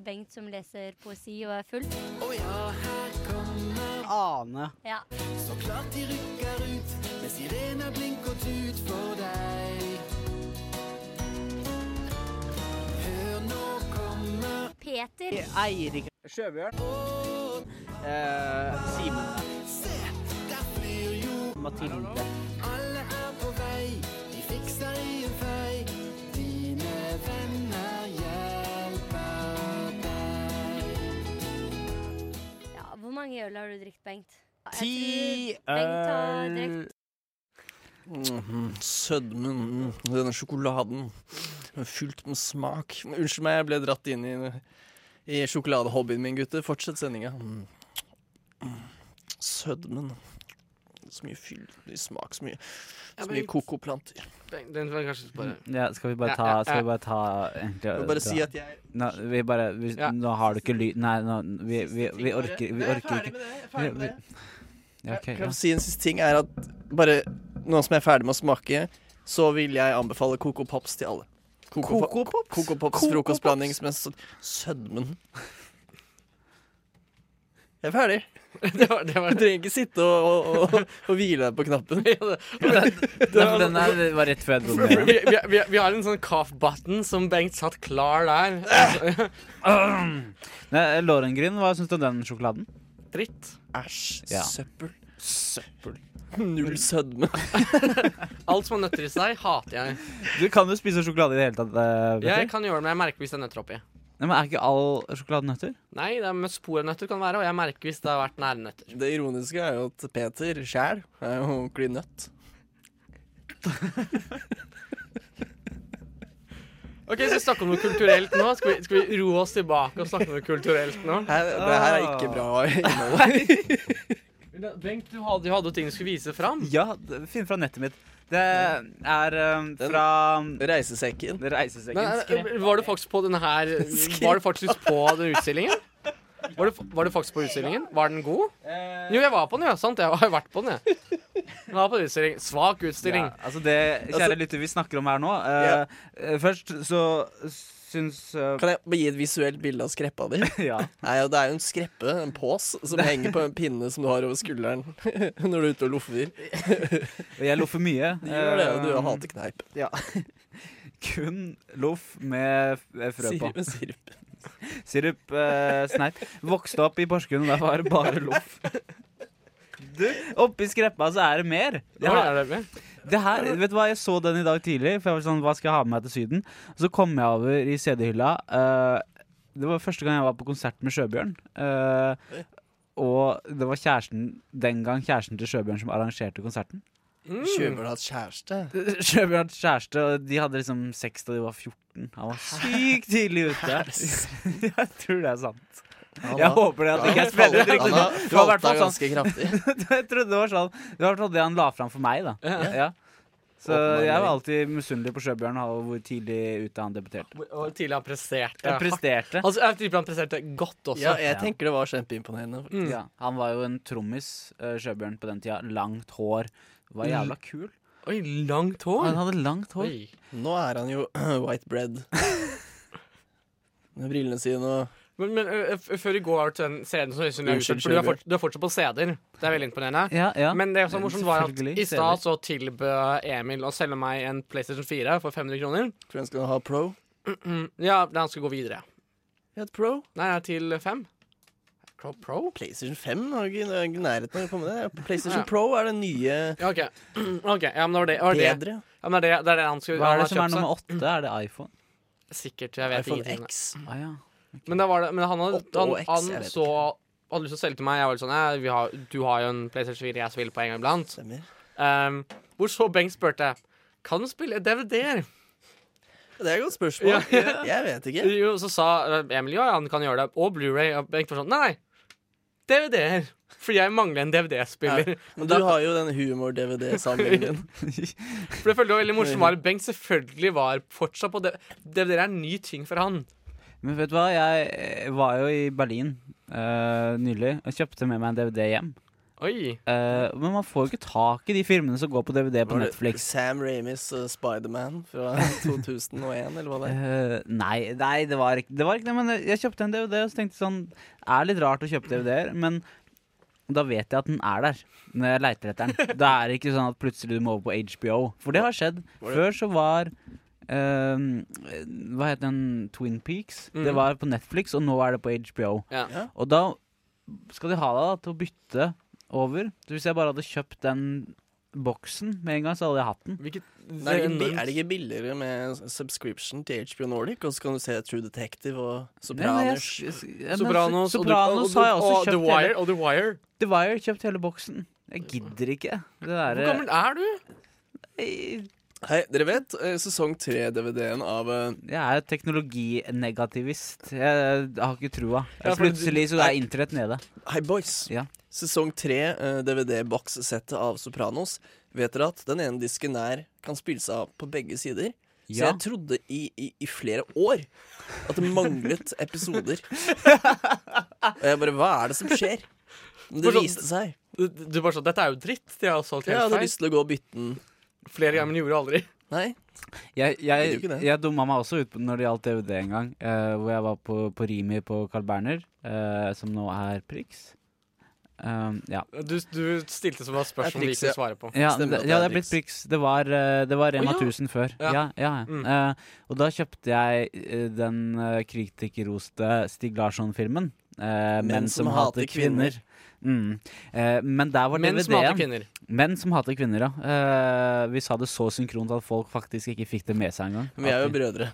S3: Bengt som leser poesi og er full.
S4: Ane.
S3: Ja. Peter.
S4: Eirik. Sjøbjørn. eh, Simen. Mathilde.
S3: Ja, hvor mange øl har du drukket, Bengt? Jeg tror Bengt har drukket
S9: Mhm, Sødmen, mm, denne sjokoladen Den er fylt med smak. Unnskyld meg, jeg ble dratt inn i, i sjokoladehobbyen min, gutter. Fortsett sendinga. Mm. Mm. Sødmen. Så mye fyll, så mye smak, så mye, så mye kokoplanter.
S8: Den får jeg kanskje bare
S4: Ja, skal vi bare ta,
S8: Ja, ja, ja.
S4: Skal vi bare ta egentlig,
S9: Jeg vil bare si at jeg
S4: nå, vi bare, vi,
S8: Ja.
S4: nå har du ikke lyd Nei, nå, vi, vi, vi orker, vi orker ikke.
S9: med det. Jeg er
S4: ferdig med Ja, ok,
S9: Kan
S4: ja.
S9: jeg si en siste ting, er at bare nå som jeg er ferdig med å smake, så vil jeg anbefale Coco Pops til alle. Coco, Pops? Coco Pops frokostblanding som er så sødmen. Jeg er ferdig.
S4: Mm.
S8: <laughs> Det var,
S4: <laughs>
S8: det var
S9: Du trenger ikke sitte og, og, og, og hvile deg på knappen.
S4: Nei, for Den her var rett før jeg dro ned.
S8: <laughs> vi, vi, vi, vi har en sånn cough button som Bengt satt klar der.
S4: <laughs> Nei, Lårengryn, hva syns du om den sjokoladen?
S8: Dritt.
S9: Æsj.
S4: Ja.
S9: Søppel. Søppel. Null sødme.
S8: Alt som har nøtter i seg, hater jeg.
S4: Du kan jo spise sjokolade i det hele tatt. eh, Petter.
S8: Jeg kan gjøre det, men jeg merker hvis det er nøtter oppi.
S4: Nei, men Er ikke all sjokolade nøtter?
S8: Nei, det er med spor av nøtter kan være, og jeg merker hvis det har vært nære nøtter.
S9: Det ironiske er jo at Peter sjæl er jo ordentlig nøtt.
S8: Ok, så vi snakker om noe kulturelt nå. Skal vi, skal vi roe oss tilbake og snakke om noe kulturelt nå?
S9: Her, det her er ikke bra innhold.
S8: Bengt, du hadde, du hadde jo ting du skulle vise fram.
S4: Ja, det- finn fra nettet mitt. Det er eh,
S9: Den-
S4: fra
S9: Reisesekken.
S8: Nei,
S4: reisesekken.
S8: nei, eh, var du faktisk på denne her Var du faktisk på den utstillingen? Var du, var du faktisk på utstillingen? Var den god?
S9: eh,
S8: Jo, jeg var på den, ja. Sant, jeg har jo vært på den, jeg. jeg var på den utstilling. Svak utstilling.
S4: Ja, altså det kjære
S9: Altså-
S4: lytter vi snakker om her nå eh, eh, Først så syns eh,
S9: Kan jeg bare gi et visuelt bilde av skreppa di?
S4: Ja.
S9: Nei, og Det er jo en skreppe, en pås, som henger på en pinne som du har over skulderen <laughs> når du er ute og loffer.
S4: Jeg loffer mye.
S9: Gjør det, og <laughs> du
S4: eh,
S9: hater kneip.
S4: Kun loff med f- eh, frø på.
S9: Sirup, sirup.
S4: Sirup, eh, sneip. Vokste opp i Porsgrunn, og der var det bare
S9: <laughs>
S4: loff. Du, Oppi skreppa så er det mer. Jeg
S8: Hva
S4: har-
S8: er det med?
S4: Det her, vet du hva, Jeg så den i dag tidlig, for jeg var sånn Hva skal jeg ha med meg til Syden? Så kom jeg over i CD-hylla. eh, det var første gang jeg var på konsert med Sjøbjørn. eh, og det var kjæresten den gang kjæresten til Sjøbjørn som arrangerte konserten. <laughs>
S8: Mm.
S9: Kjøper du hatt kjæreste?
S4: Sjøbjørn hadde kjæreste, og de hadde liksom <laughs> sex da de var 14. Han var sykt tidlig ute. jeg tror det er sant. Jeg håper det at det ikke er veldig riktig.
S9: Han har
S4: Det var i hvert fall
S9: falt av ganske
S4: sånn- <laughs>
S9: kraftig.
S4: jeg trodde det var sånn Det var i hvert fall det han la fram for meg, da.
S9: Ja.
S4: Ja. Så
S9: Åpenbar
S4: jeg var
S9: løgn.
S4: alltid misunnelig på Sjøbjørn og hvor tidlig ute han debuterte.
S8: Og tidlig han presterte.
S4: Han presterte.
S8: Altså, jeg tipper han presterte godt også.
S4: Ja, jeg tenker
S9: det var kjempeimponerende.
S8: Mm.
S4: Ja, han var jo en trommis, eh, Sjøbjørn, på den tida. Langt hår. Var jævla kul.
S8: Oi, langt hår?
S4: Mm. Han hadde langt hår.
S8: Oi.
S9: Nå er han jo <clears throat> white bread. Med brillene sine og
S8: Men, men ø, f- før vi går til den scenen som Øystein har
S9: Unnskyld,
S8: utført, for du er,
S9: Sjøbjørn.
S8: fort, du er fortsatt på CD-er. Det er veldig imponerende.
S4: Ja, ja.
S8: Men det som var morsomt, var at
S4: Selvfølgelig,
S8: i stad
S4: CD-er.
S8: så tilbød Emil å selge meg en PlayStation 4 for 500 kroner.
S9: Tror jeg han skulle ha pro.
S8: Mm, Ja, da han skulle gå videre.
S9: Et pro?
S8: Nei, ja, til 5. Pro? pro?
S9: PlayStation 5 har ikke det er ikke i nærheten av å komme det.
S8: Ja.
S9: PlayStation Pro er den nye
S8: Ja, OK. <clears throat> OK, ja, men det var det. det Var det.
S9: Bedre.
S8: Ja, men det, er det, det er det han skulle
S4: Hva
S8: han
S4: er det
S8: har
S4: som er
S8: kjøpt seg.
S4: nummer åtte? Er det iPhone?
S8: Sikkert. Jeg vet
S4: iPhone
S8: ingenting.
S4: Ah, ja.
S8: Men, da var det, men han, hadde,
S9: Åtte og
S8: han,
S9: X, jeg
S8: han
S9: vet
S8: så hadde lyst til å selge til meg. Jeg var litt sånn «Nei, vi har, Du har jo en PlayStation 4 jeg spiller på en gang iblant.
S9: Stemmer.
S8: Um, hvor så Bengt spurte Kan du spille DVD-er.
S9: Det er et godt spørsmål.
S8: Ja.
S9: Jeg- Jeg vet ikke.
S8: Jo, så sa eh, Emil ja, ja, han kan gjøre det. Og Blu-ray. Og Bengt var sånn Nei, nei. DVD-er. Fordi jeg mangler en DVD-spiller.
S9: Ja, Men du har jo den humor-DVD-samlingen din.
S8: For jeg følte det var veldig
S9: <laughs>
S8: morsomt var at Bengt selvfølgelig var fortsatt på DVD. DVD-er er en ny ting for han.
S4: Men vet du hva, jeg eh, var jo i Berlin eh, nylig og kjøpte med meg en DVD hjem.
S8: Oi.
S4: Eh, men man får jo ikke tak i de filmene som går på DVD <laughs> på
S9: Var det
S4: Netflix.
S9: Sam Ramis uh, Spiderman fra
S4: <laughs>
S9: 2001, eller hva det er.
S4: Eh, nei, nei det, var ikke, det var ikke det, men jeg kjøpte en DVD og så tenkte jeg sånn Det er litt rart å kjøpe DVD-er, men da vet jeg at den er der når jeg leiter etter den. Da er det ikke sånn at plutselig du må over på HBO, for det har skjedd.
S9: Var det-
S4: Før så var eh, Hva het den? Twin Peaks.
S8: Mm.
S4: Det var på Netflix, og nå er det på HBO.
S8: Ja.
S9: Ja.
S4: Og da skal de ha deg da, til å bytte over. Så hvis jeg bare hadde kjøpt den boksen med en gang, så hadde jeg hatt den.
S8: Hvilket
S9: Nei, Er det, ikke, bi- er det ikke billigere med subscription til HBO Nordic, og så kan du se True Detective og
S4: Nei, men
S9: Sopranos?
S4: jeg- ja, men
S8: Sopranos, og du-
S4: Sopranos har jeg
S8: og-
S4: også
S8: og
S4: kjøpt.
S8: The Wire.
S4: hele,
S8: Og The Wire.
S4: The Wire kjøpt hele boksen. Jeg gidder ikke. Det
S8: Hvor
S4: derre
S8: gammel er du?
S4: Jeg
S9: Hei, dere vet eh, sesong 3-DVD-en av eh,
S4: jeg er teknologinegativist. Jeg har ikke trua.
S8: Ja, for
S4: Plutselig så er internett nede.
S9: Hei, boys.
S4: Ja.
S9: Sesong eh, 3, DVD-bokssettet av Sopranos. Vet dere at den ene disken der kan spille seg av på begge sider? Så
S4: Ja.
S9: jeg trodde i, i, i flere år at det manglet episoder. Og jeg bare Hva er det som skjer? Men det
S4: sånn
S8: Forstå-
S9: viste seg.
S8: Du, du bare sånn, Dette er jo dritt. De har solgt
S9: Jeg
S8: helt
S9: hadde
S8: feil.
S9: lyst til å gå og bytte den.
S8: Flere ganger, men gjorde aldri.
S9: Nei.
S4: Jeg,
S9: Vil
S4: jeg,
S9: du ikke det?
S4: jeg dumma meg også ut på- når det gjaldt DVD en gang, eh, hvor jeg var på, på Rimi på Carl Berner, eh, som nå er Prix. Um, ja.
S8: Du, du stilte som et spørsmål vi
S9: Jeg
S8: ikke
S9: trikser.
S8: kunne svare på.
S4: Ja,
S9: Stemmer
S4: det,
S9: at
S4: ja, det er
S9: det er
S4: blitt Prix. Det var, eh, det var Rema
S8: ja.
S4: 1000 før.
S8: Ja.
S4: Ja, ja, ja.
S8: Mm.
S4: Eh, og da kjøpte jeg eh, den eh, kritikerroste Stig Larsson-filmen. eh, 'Menn som, hater kvinner'. Mm. Eh, men der var
S8: Menn som hater
S4: DVD-en.
S8: kvinner.
S4: 'Menn som hater kvinner', ja. Eh, vi sa det så synkront at folk faktisk ikke fikk det med seg engang.
S9: Men vi er
S4: At
S9: jo
S4: <laughs>
S9: brødre.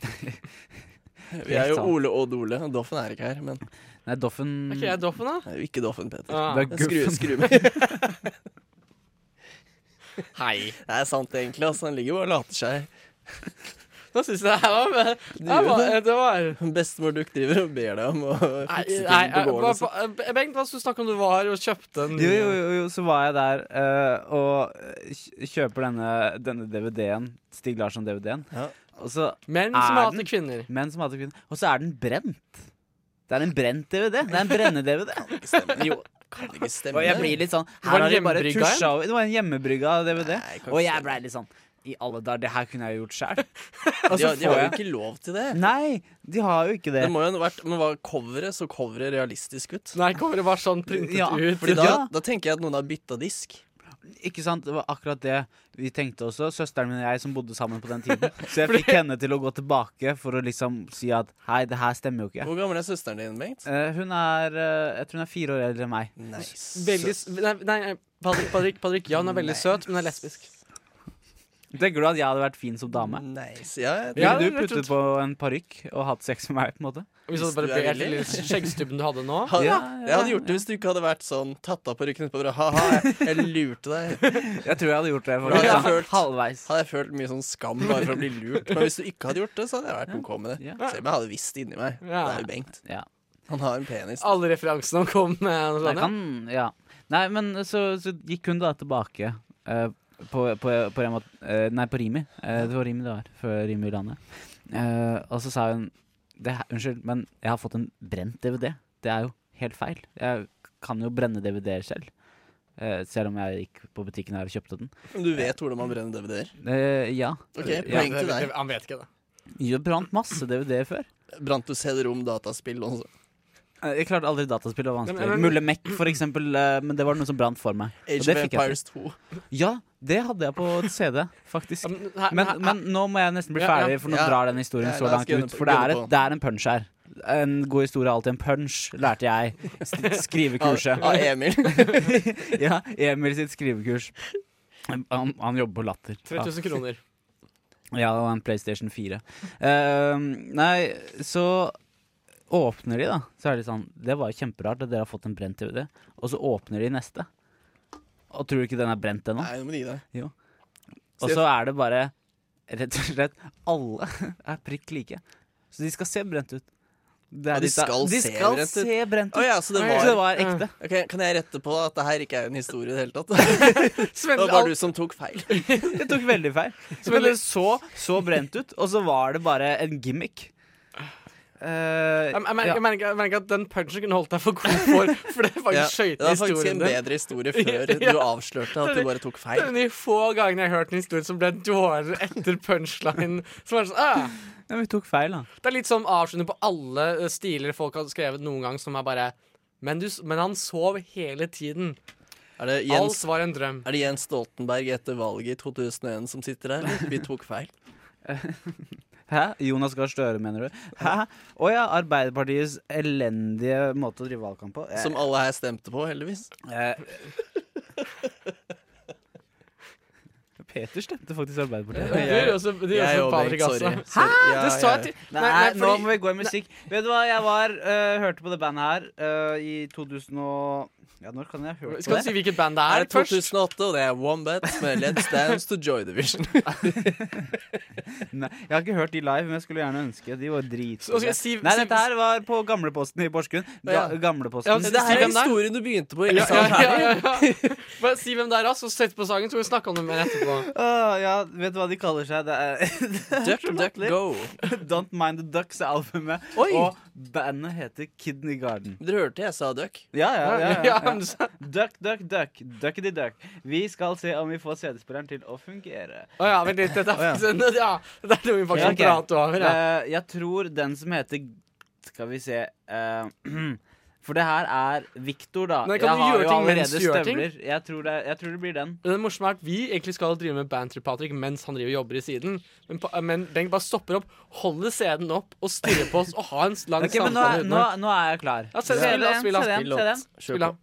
S9: Vi er jo
S4: sant.
S9: Ole og Dole. Doffen er ikke her, men
S4: Nei, Doffen
S8: Er ikke jeg doffen, da?
S9: Nei, ikke Doffen, Peter.
S8: Ah,
S4: Det er
S9: Skru,
S4: guffen.
S9: skru med. Det
S8: hei.
S9: er sant, egentlig. Altså. Han ligger bare og later seg.
S8: Nå syns jeg det her var det
S9: gjør
S8: var,
S9: det.
S8: det var
S9: Bestemor Duck driver og ber deg om å
S8: Nei,
S9: fikse
S8: nei, eh,
S9: ting på gården.
S8: hva-
S9: og sånn.
S8: hva- Bengt, hva snakka du om du var og kjøpte en
S4: Jo, jo, jo, jo, så var jeg der eh, og kj- kjøper denne, denne DVD-en, Stig Larsson-DVD-en.
S9: Ja.
S4: Og så
S8: Menn som
S4: Er
S8: hater
S4: den?
S8: kvinner.
S4: Menn som hater kvinner. Og så er den brent. Det er en brent DVD. Det er en brenne-DVD.
S9: Stemmer. Kan det ikke
S4: <laughs>
S9: stemme?
S4: Og jeg blir litt sånn
S8: Var
S4: Her
S8: det
S4: har de bare
S8: hjemmebrygga
S4: tusja over Det var en hjemmebrygga DVD.
S9: Nei, kan
S4: Og
S9: ikke
S4: jeg
S9: stemme.
S4: blei litt sånn I alle dager, det her kunne jeg gjort sjæl.
S9: de, har- de har jo
S4: jeg-
S9: ikke lov til det.
S4: Nei, de har jo ikke det.
S9: Det må jo ha vært, Men var coveret så coveret realistisk ut?
S8: Nei, kommer det bare sånn printet
S4: Ja,
S8: ut?
S9: Fordi da,
S4: Ja.
S9: da tenker jeg at noen har bytta disk.
S4: Ikke sant, Det var akkurat det vi tenkte også. Søsteren min og jeg som bodde sammen på den tiden. Så jeg fikk henne til å gå tilbake for å liksom si at hei, det her stemmer jo ikke.
S9: Hvor gammel er søsteren din, Bengt?
S4: Eh, hun er eh, Jeg tror hun er fire år eldre enn meg.
S9: Nice.
S8: Veldig s- Nei, nei Patrick, Patrick, Patrick, ja, hun er veldig søt, men hun er lesbisk.
S4: Tenker du at jeg hadde vært fin som dame?
S9: Nice. Ja, jeg
S8: Ja,
S4: Ville du
S8: rett og
S4: puttet på en parykk og hatt sex med meg? på en måte?
S8: Hvis du hadde
S9: Hvis
S8: bare
S9: du er
S8: bøyd den
S9: heldig.
S8: lille skjeggstubben du hadde nå.
S9: Ha,
S4: Ja,
S9: Jeg hadde gjort det hvis du ikke hadde vært sånn tatt av på ryggen etterpå. bare, Ha-ha, jeg, jeg lurte deg.
S4: Jeg tror jeg hadde gjort det.
S9: Da hadde jeg
S4: faktisk.
S9: følt-
S4: Halvveis.
S9: Hadde jeg følt mye sånn skam bare for å bli lurt. Men hvis du ikke hadde gjort det, så hadde jeg vært OK med det.
S4: Ja.
S9: Selv om jeg hadde visst det inni meg. Det
S8: Ja.
S9: er
S8: Ah.
S9: jo Bengt.
S4: Ja.
S9: Han har en penis.
S8: Alle referansene han kom eh, med.
S4: Det kan, Sånn, ja. Nei, men så, så gikk hun da tilbake eh, på, på, på, Rema, eh, nei, på Rimi. Eh, det var Rimi det var, før Rimi Ulane. Eh, og så sa hun det, her- Unnskyld, men jeg har fått en brent DVD. Det er jo helt feil. Jeg kan jo brenne DVD-er selv. Eh, selv om jeg gikk på butikken her og kjøpte den.
S9: Men du vet hvordan man brenner DVD-er?
S4: Eh, ja.
S9: Ok,
S4: ja.
S9: poeng til deg.
S8: Han vet ikke det.
S4: Jeg brant masse DVD-er før.
S9: Brant du CD-rom, dataspill sånn? også?
S4: Eh, Jeg klarte aldri dataspill. Det var vanskelig.
S9: Men- men-
S4: Mulle Mech, for eksempel. eh, Men det var noe som brant for meg. Og
S9: Age
S4: det
S9: of
S4: fikk jeg til.
S9: Empires 2.
S4: Ja, det hadde jeg på CD, faktisk.
S8: her-
S4: Men,
S8: her-
S4: men nå må jeg nesten bli
S8: Ja, ja.
S4: ferdig, for nå
S8: Ja.
S4: drar den historien
S8: Ja,
S4: så
S8: la oss
S4: langt
S8: gønne
S4: ut.
S8: på-
S4: For det er,
S8: gønne
S4: et,
S8: på.
S4: det er en punch her. En god historie er alltid en punch, lærte jeg. st- <laughs> Skrivekurset.
S9: Av- av Emil.
S4: <laughs> ja, Emil sitt skrivekurs. Han, han jobber på Latter. <laughs>
S8: 3000 kroner.
S4: Ja, og en PlayStation 4. Eh, nei, så åpner de, da. Så er de sånn Det var jo kjemperart at dere har fått en brent DVD. Og så åpner de neste. Og tror du ikke den er brent ennå?
S9: Nei, nå må du gi deg.
S4: Jo. Og så er det bare rett og slett Alle <laughs> er prikk like. Så de skal se brent ut. Det er
S9: Ja, de
S4: litt av-
S9: skal,
S4: de skal se brent ut.
S9: Å ja, så det
S4: Oi,
S9: var,
S4: så det var ekte.
S9: Ja. Ok, kan jeg rette på at det her ikke er en historie i det hele
S8: <laughs>
S9: tatt? det var bare du som tok feil.
S4: Jeg tok veldig feil. Men det så så brent ut, og så var det bare en gimmick. Eh,
S8: Jeg, jeg, merker,
S4: ja.
S8: jeg, merker, jeg merker at den punchen kunne holdt deg for god for,
S4: <laughs>
S8: for det
S9: Ja,
S8: faktisk
S9: det
S8: skøyt
S9: var faktisk
S8: historien
S9: en bedre
S8: <laughs>
S9: historie før
S8: Ja.
S9: du avslørte at du bare tok
S8: Det er
S9: feil.
S8: en av de få gangene jeg har hørt en historie som ble dårligere etter punchline. Som er sånn, «Ah,
S4: Ja, vi tok feil, da.
S8: det er litt sånn avslutning på alle eh, stiler folk har skrevet noen gang, som er bare men, du, s- men han sov hele tiden.
S9: Er det
S8: Alt
S9: Jens,
S8: var en drøm.
S9: er det Jens Stoltenberg etter valget i 2001 som sitter her?
S8: <laughs>
S9: Vi tok feil.
S4: Hæ? Jonas Gahr Støre, mener du? Hæ? Å ja, Arbeiderpartiets elendige måte å drive valgkamp på. Eh,
S9: Som alle her stemte på, heldigvis.
S4: eh. Peter stemte faktisk Arbeiderpartiet.
S8: Du gjør også, du gjør
S9: Jeg
S8: også
S9: og Bengt,
S8: Patrick, <laughs> altså.
S9: sorry. Sorry.
S8: Hæ?
S9: Ja,
S8: det sa
S9: ja,
S8: jeg til
S4: Nei, nå må vi gå i musikk. Vet du hva, jeg var, eh, hørte på det bandet her eh, i 2000 og Ja, når kan jeg ha hørt på
S8: Skal
S4: det?
S8: du si hvilket band det
S9: Er
S8: er,
S9: det
S8: først?
S9: 2008, og det er Wombat med
S8: <laughs>
S9: Let's Dance to Joy Division.
S4: Nei, jeg har ikke hørt de live, men jeg skulle gjerne ønske. De var
S8: Så skal
S4: dritfine.
S8: jeg si,
S4: Nei,
S8: si-
S4: dette her var på Gamleposten i Porsgrunn. Ga
S9: Ja.
S8: Ja,
S4: Gamleposten.
S8: det
S9: Det her er
S8: hvem det er?
S9: historien du begynte på.
S8: ja,
S9: Ikke
S8: ja,
S9: sant?
S8: ja, ja. <laughs> Bare si hvem det er, altså, og sett på sangen, så skal vi snakke om det mer etterpå.
S4: Åh, ja, vet du hva de kaller seg? Det er <laughs>
S9: Duck, duck, go.
S4: Don't Mind the Ducks-albumet.
S9: Oi.
S4: Og bandet heter Kidney Garden.
S9: Dere hørte jeg sa duck.
S4: Ja, ja, ja. ja,
S8: Ja,
S4: ja.
S8: men så-
S4: Duck, duck, duck. Duckety duck. Vi skal se om vi får CD-spilleren til å fungere.
S8: Å ja, vent litt. Dette er faktisk ja, dette er noe vi faktisk
S4: Ja,
S8: har
S4: ok.
S8: pratet over. Ja.
S4: Eh, jeg tror den som heter Skal vi se eh, <clears throat> For det her er Victor, da.
S8: Men kan du gjøre ting mens du gjør ting?
S4: Jeg tror, det, jeg tror det blir den.
S8: Det morsomme er at Vi egentlig skal drive med banter Patrick mens han driver og jobber i siden. Men, pa- men Bengt bare stopper opp, holder CD-en opp og stirrer på oss og har en lang
S4: Ok, men nå,
S8: samtale
S4: er- nå,
S8: utenom.
S4: nå er jeg klar.
S8: Ja, se- spill da, spill da,
S4: Se den,
S8: spill
S4: se den.
S9: Kjør
S8: Spill
S9: på.
S8: av.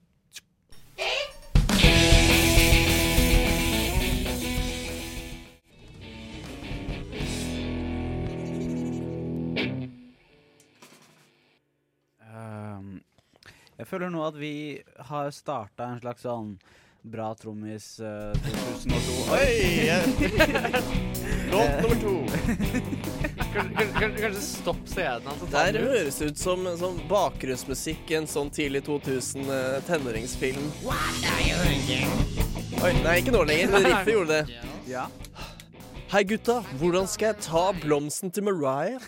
S4: Ehm, Jeg føler nå at vi har starta en slags sånn bra trommis eh, 2002. Oi!
S8: <laughs>
S9: Låt nummer to.
S8: Kanskje, kanskje- kanskje stopp CD-en hans. og ta
S9: Der
S8: den ut.
S9: høres det ut som, som bakgrunnsmusikk i en sånn tidlig 2000 eh, tenåringsfilm. Oi, nei, ikke nå lenger. men
S8: <laughs>
S9: Riffet gjorde det.
S4: Ja.
S9: Hei, gutta. Hvordan skal jeg ta blomsten til Mariah?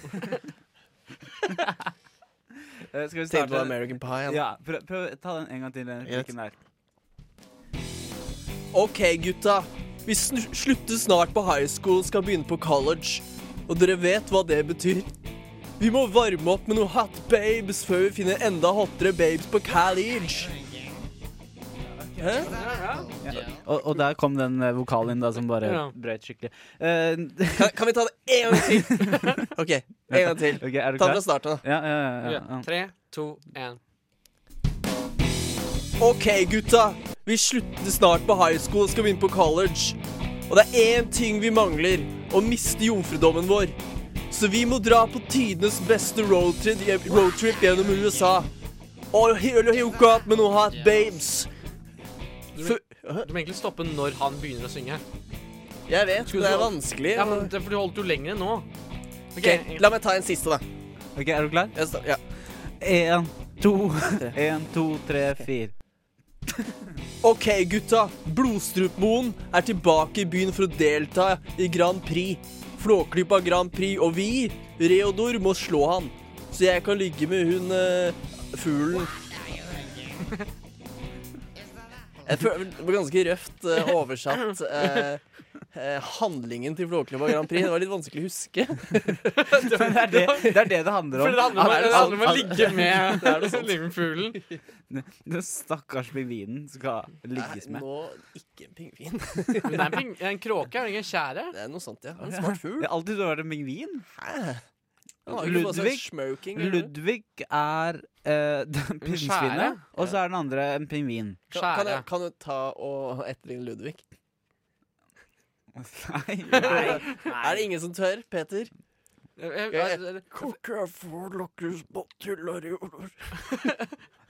S4: Eh, Skal vi
S9: Tenkte på
S4: starte?
S9: American Pie. han.
S4: Ja, prøv, prøv ta den en gang til. den
S9: Yes.
S4: replikken der.
S9: OK, gutta. Vi snu- slutter snart på high school, skal begynne på college. Og dere vet hva det betyr. Vi må varme opp med noen hot babes før vi finner enda hottere babes på college. Hæ?
S4: Og, og der kom den eh, vokalen inn da som bare
S8: Ja.
S4: brøt skikkelig. Eh, <laughs>
S9: Kan, kan vi ta det en gang til? OK, en gang til.
S4: ok, er du
S9: Ta det
S4: klar?
S9: fra starten.
S4: Ja, ja, ja, ja,
S8: Ja.
S4: ja.
S8: Tre, to, én.
S9: OK, gutta. Vi slutter snart på high school og skal begynne på college. Og det er én ting vi mangler. Å miste jomfrudommen vår. Så vi må dra på tidenes beste roadtrip, roadtrip gjennom USA. Og hele hook up med noen hot babes.
S8: Du,
S9: Fø- Hæ?
S8: du må egentlig stoppe når han begynner å synge.
S9: Jeg vet,
S8: Skulle
S9: det
S8: du-
S9: er vanskelig.
S8: Ja, men det er fordi du holdt jo lenger nå. <laughs>
S9: Ok, La meg ta en siste, da.
S4: Ok, er du klar?
S9: Jeg sta- ja.
S4: En, to, <laughs> en, to, tre, fire.
S9: OK, gutta. Blodstrupmoen er tilbake i byen for å delta i Grand Prix. Flåklypa Grand Prix, og vi, Reodor, må slå han. Så jeg kan ligge med hun eh, fuglen. Jeg føler Det var ganske røft eh, oversatt. eh, eh, handlingen til Flåklypa Grand Prix. Det var litt vanskelig å huske.
S4: Men <laughs> det, er det, det er det det handler om.
S8: For det handler om-
S4: At-
S8: det handler om å
S4: at-
S8: ligge med-
S4: Det er det sånn.
S8: ligge med fuglen.
S4: Den stakkars pingvinen skal ligges med.
S9: Nå, ikke en pingvin.
S8: Men det er en, ping, en kråke, er det ikke en tjære?
S9: Det er noe sånt, ja. En smart fugl.
S4: Jeg har alltid trodd det har vært en pingvin.
S9: Han har ikke på seg
S4: Ludvig-
S9: smoking, eller?
S4: Ludvig er eh, <laughs> den pinnsvinet,
S8: skjære?
S4: og så er den andre en pingvin.
S9: Kan, kan,
S8: Skjære.
S9: jeg, kan du ta og etterligne Ludvig?
S4: Nei, nei.
S9: Er det ingen som tør, Peter?
S8: Jeg-
S9: Jeg-
S8: jeg- jeg-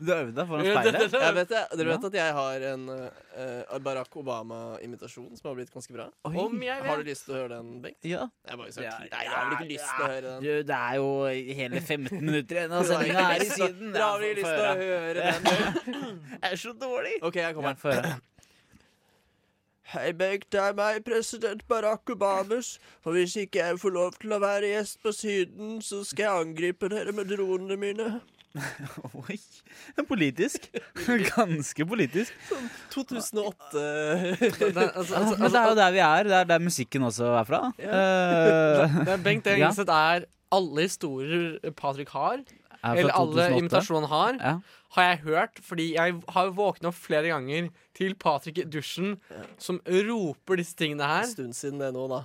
S4: Du øvde deg foran
S8: <laughs> Ja, det-
S4: speilet.
S9: Jeg vet det. Dere
S4: Ja.
S9: vet at jeg har en eh, Barack Obama-imitasjon som har blitt ganske bra?
S8: Om jeg
S9: Har
S8: vet
S9: du lyst til å høre den, Bengt?
S4: Ja.
S9: Jeg bare sa nei, jeg har vel ikke lyst til å høre den.
S4: Du, det er jo hele 15 minutter igjen av
S9: Dere har
S4: sendinga
S9: ikke
S4: her i
S9: lyst til å-
S4: siden.
S9: Dere har vel ikke lyst til å høre
S4: <laughs>
S9: den?
S4: Jeg er så dårlig.
S9: OK, jeg kommer.
S4: Få høre.
S9: Hei, Bengt. Det er meg, president Barack Obamas. Og hvis ikke jeg får lov til å være gjest på Syden, så skal jeg angripe dere med dronene mine.
S4: <laughs> Oi. Politisk. <laughs> Ganske politisk.
S9: 2008
S8: det, er- altså, altså,
S4: Men det er jo der vi er. Det er der musikken også er fra. Eh,
S8: det er Bengt
S4: Ja.
S8: Engelset er alle historier Patrick har,
S4: er fra
S8: eller alle
S4: 2008.
S8: imitasjoner han har,
S4: Ja.
S8: har jeg hørt, fordi jeg har våkna opp flere ganger til Patrick i dusjen som roper disse tingene
S9: En
S8: her.
S9: stund siden det nå, da.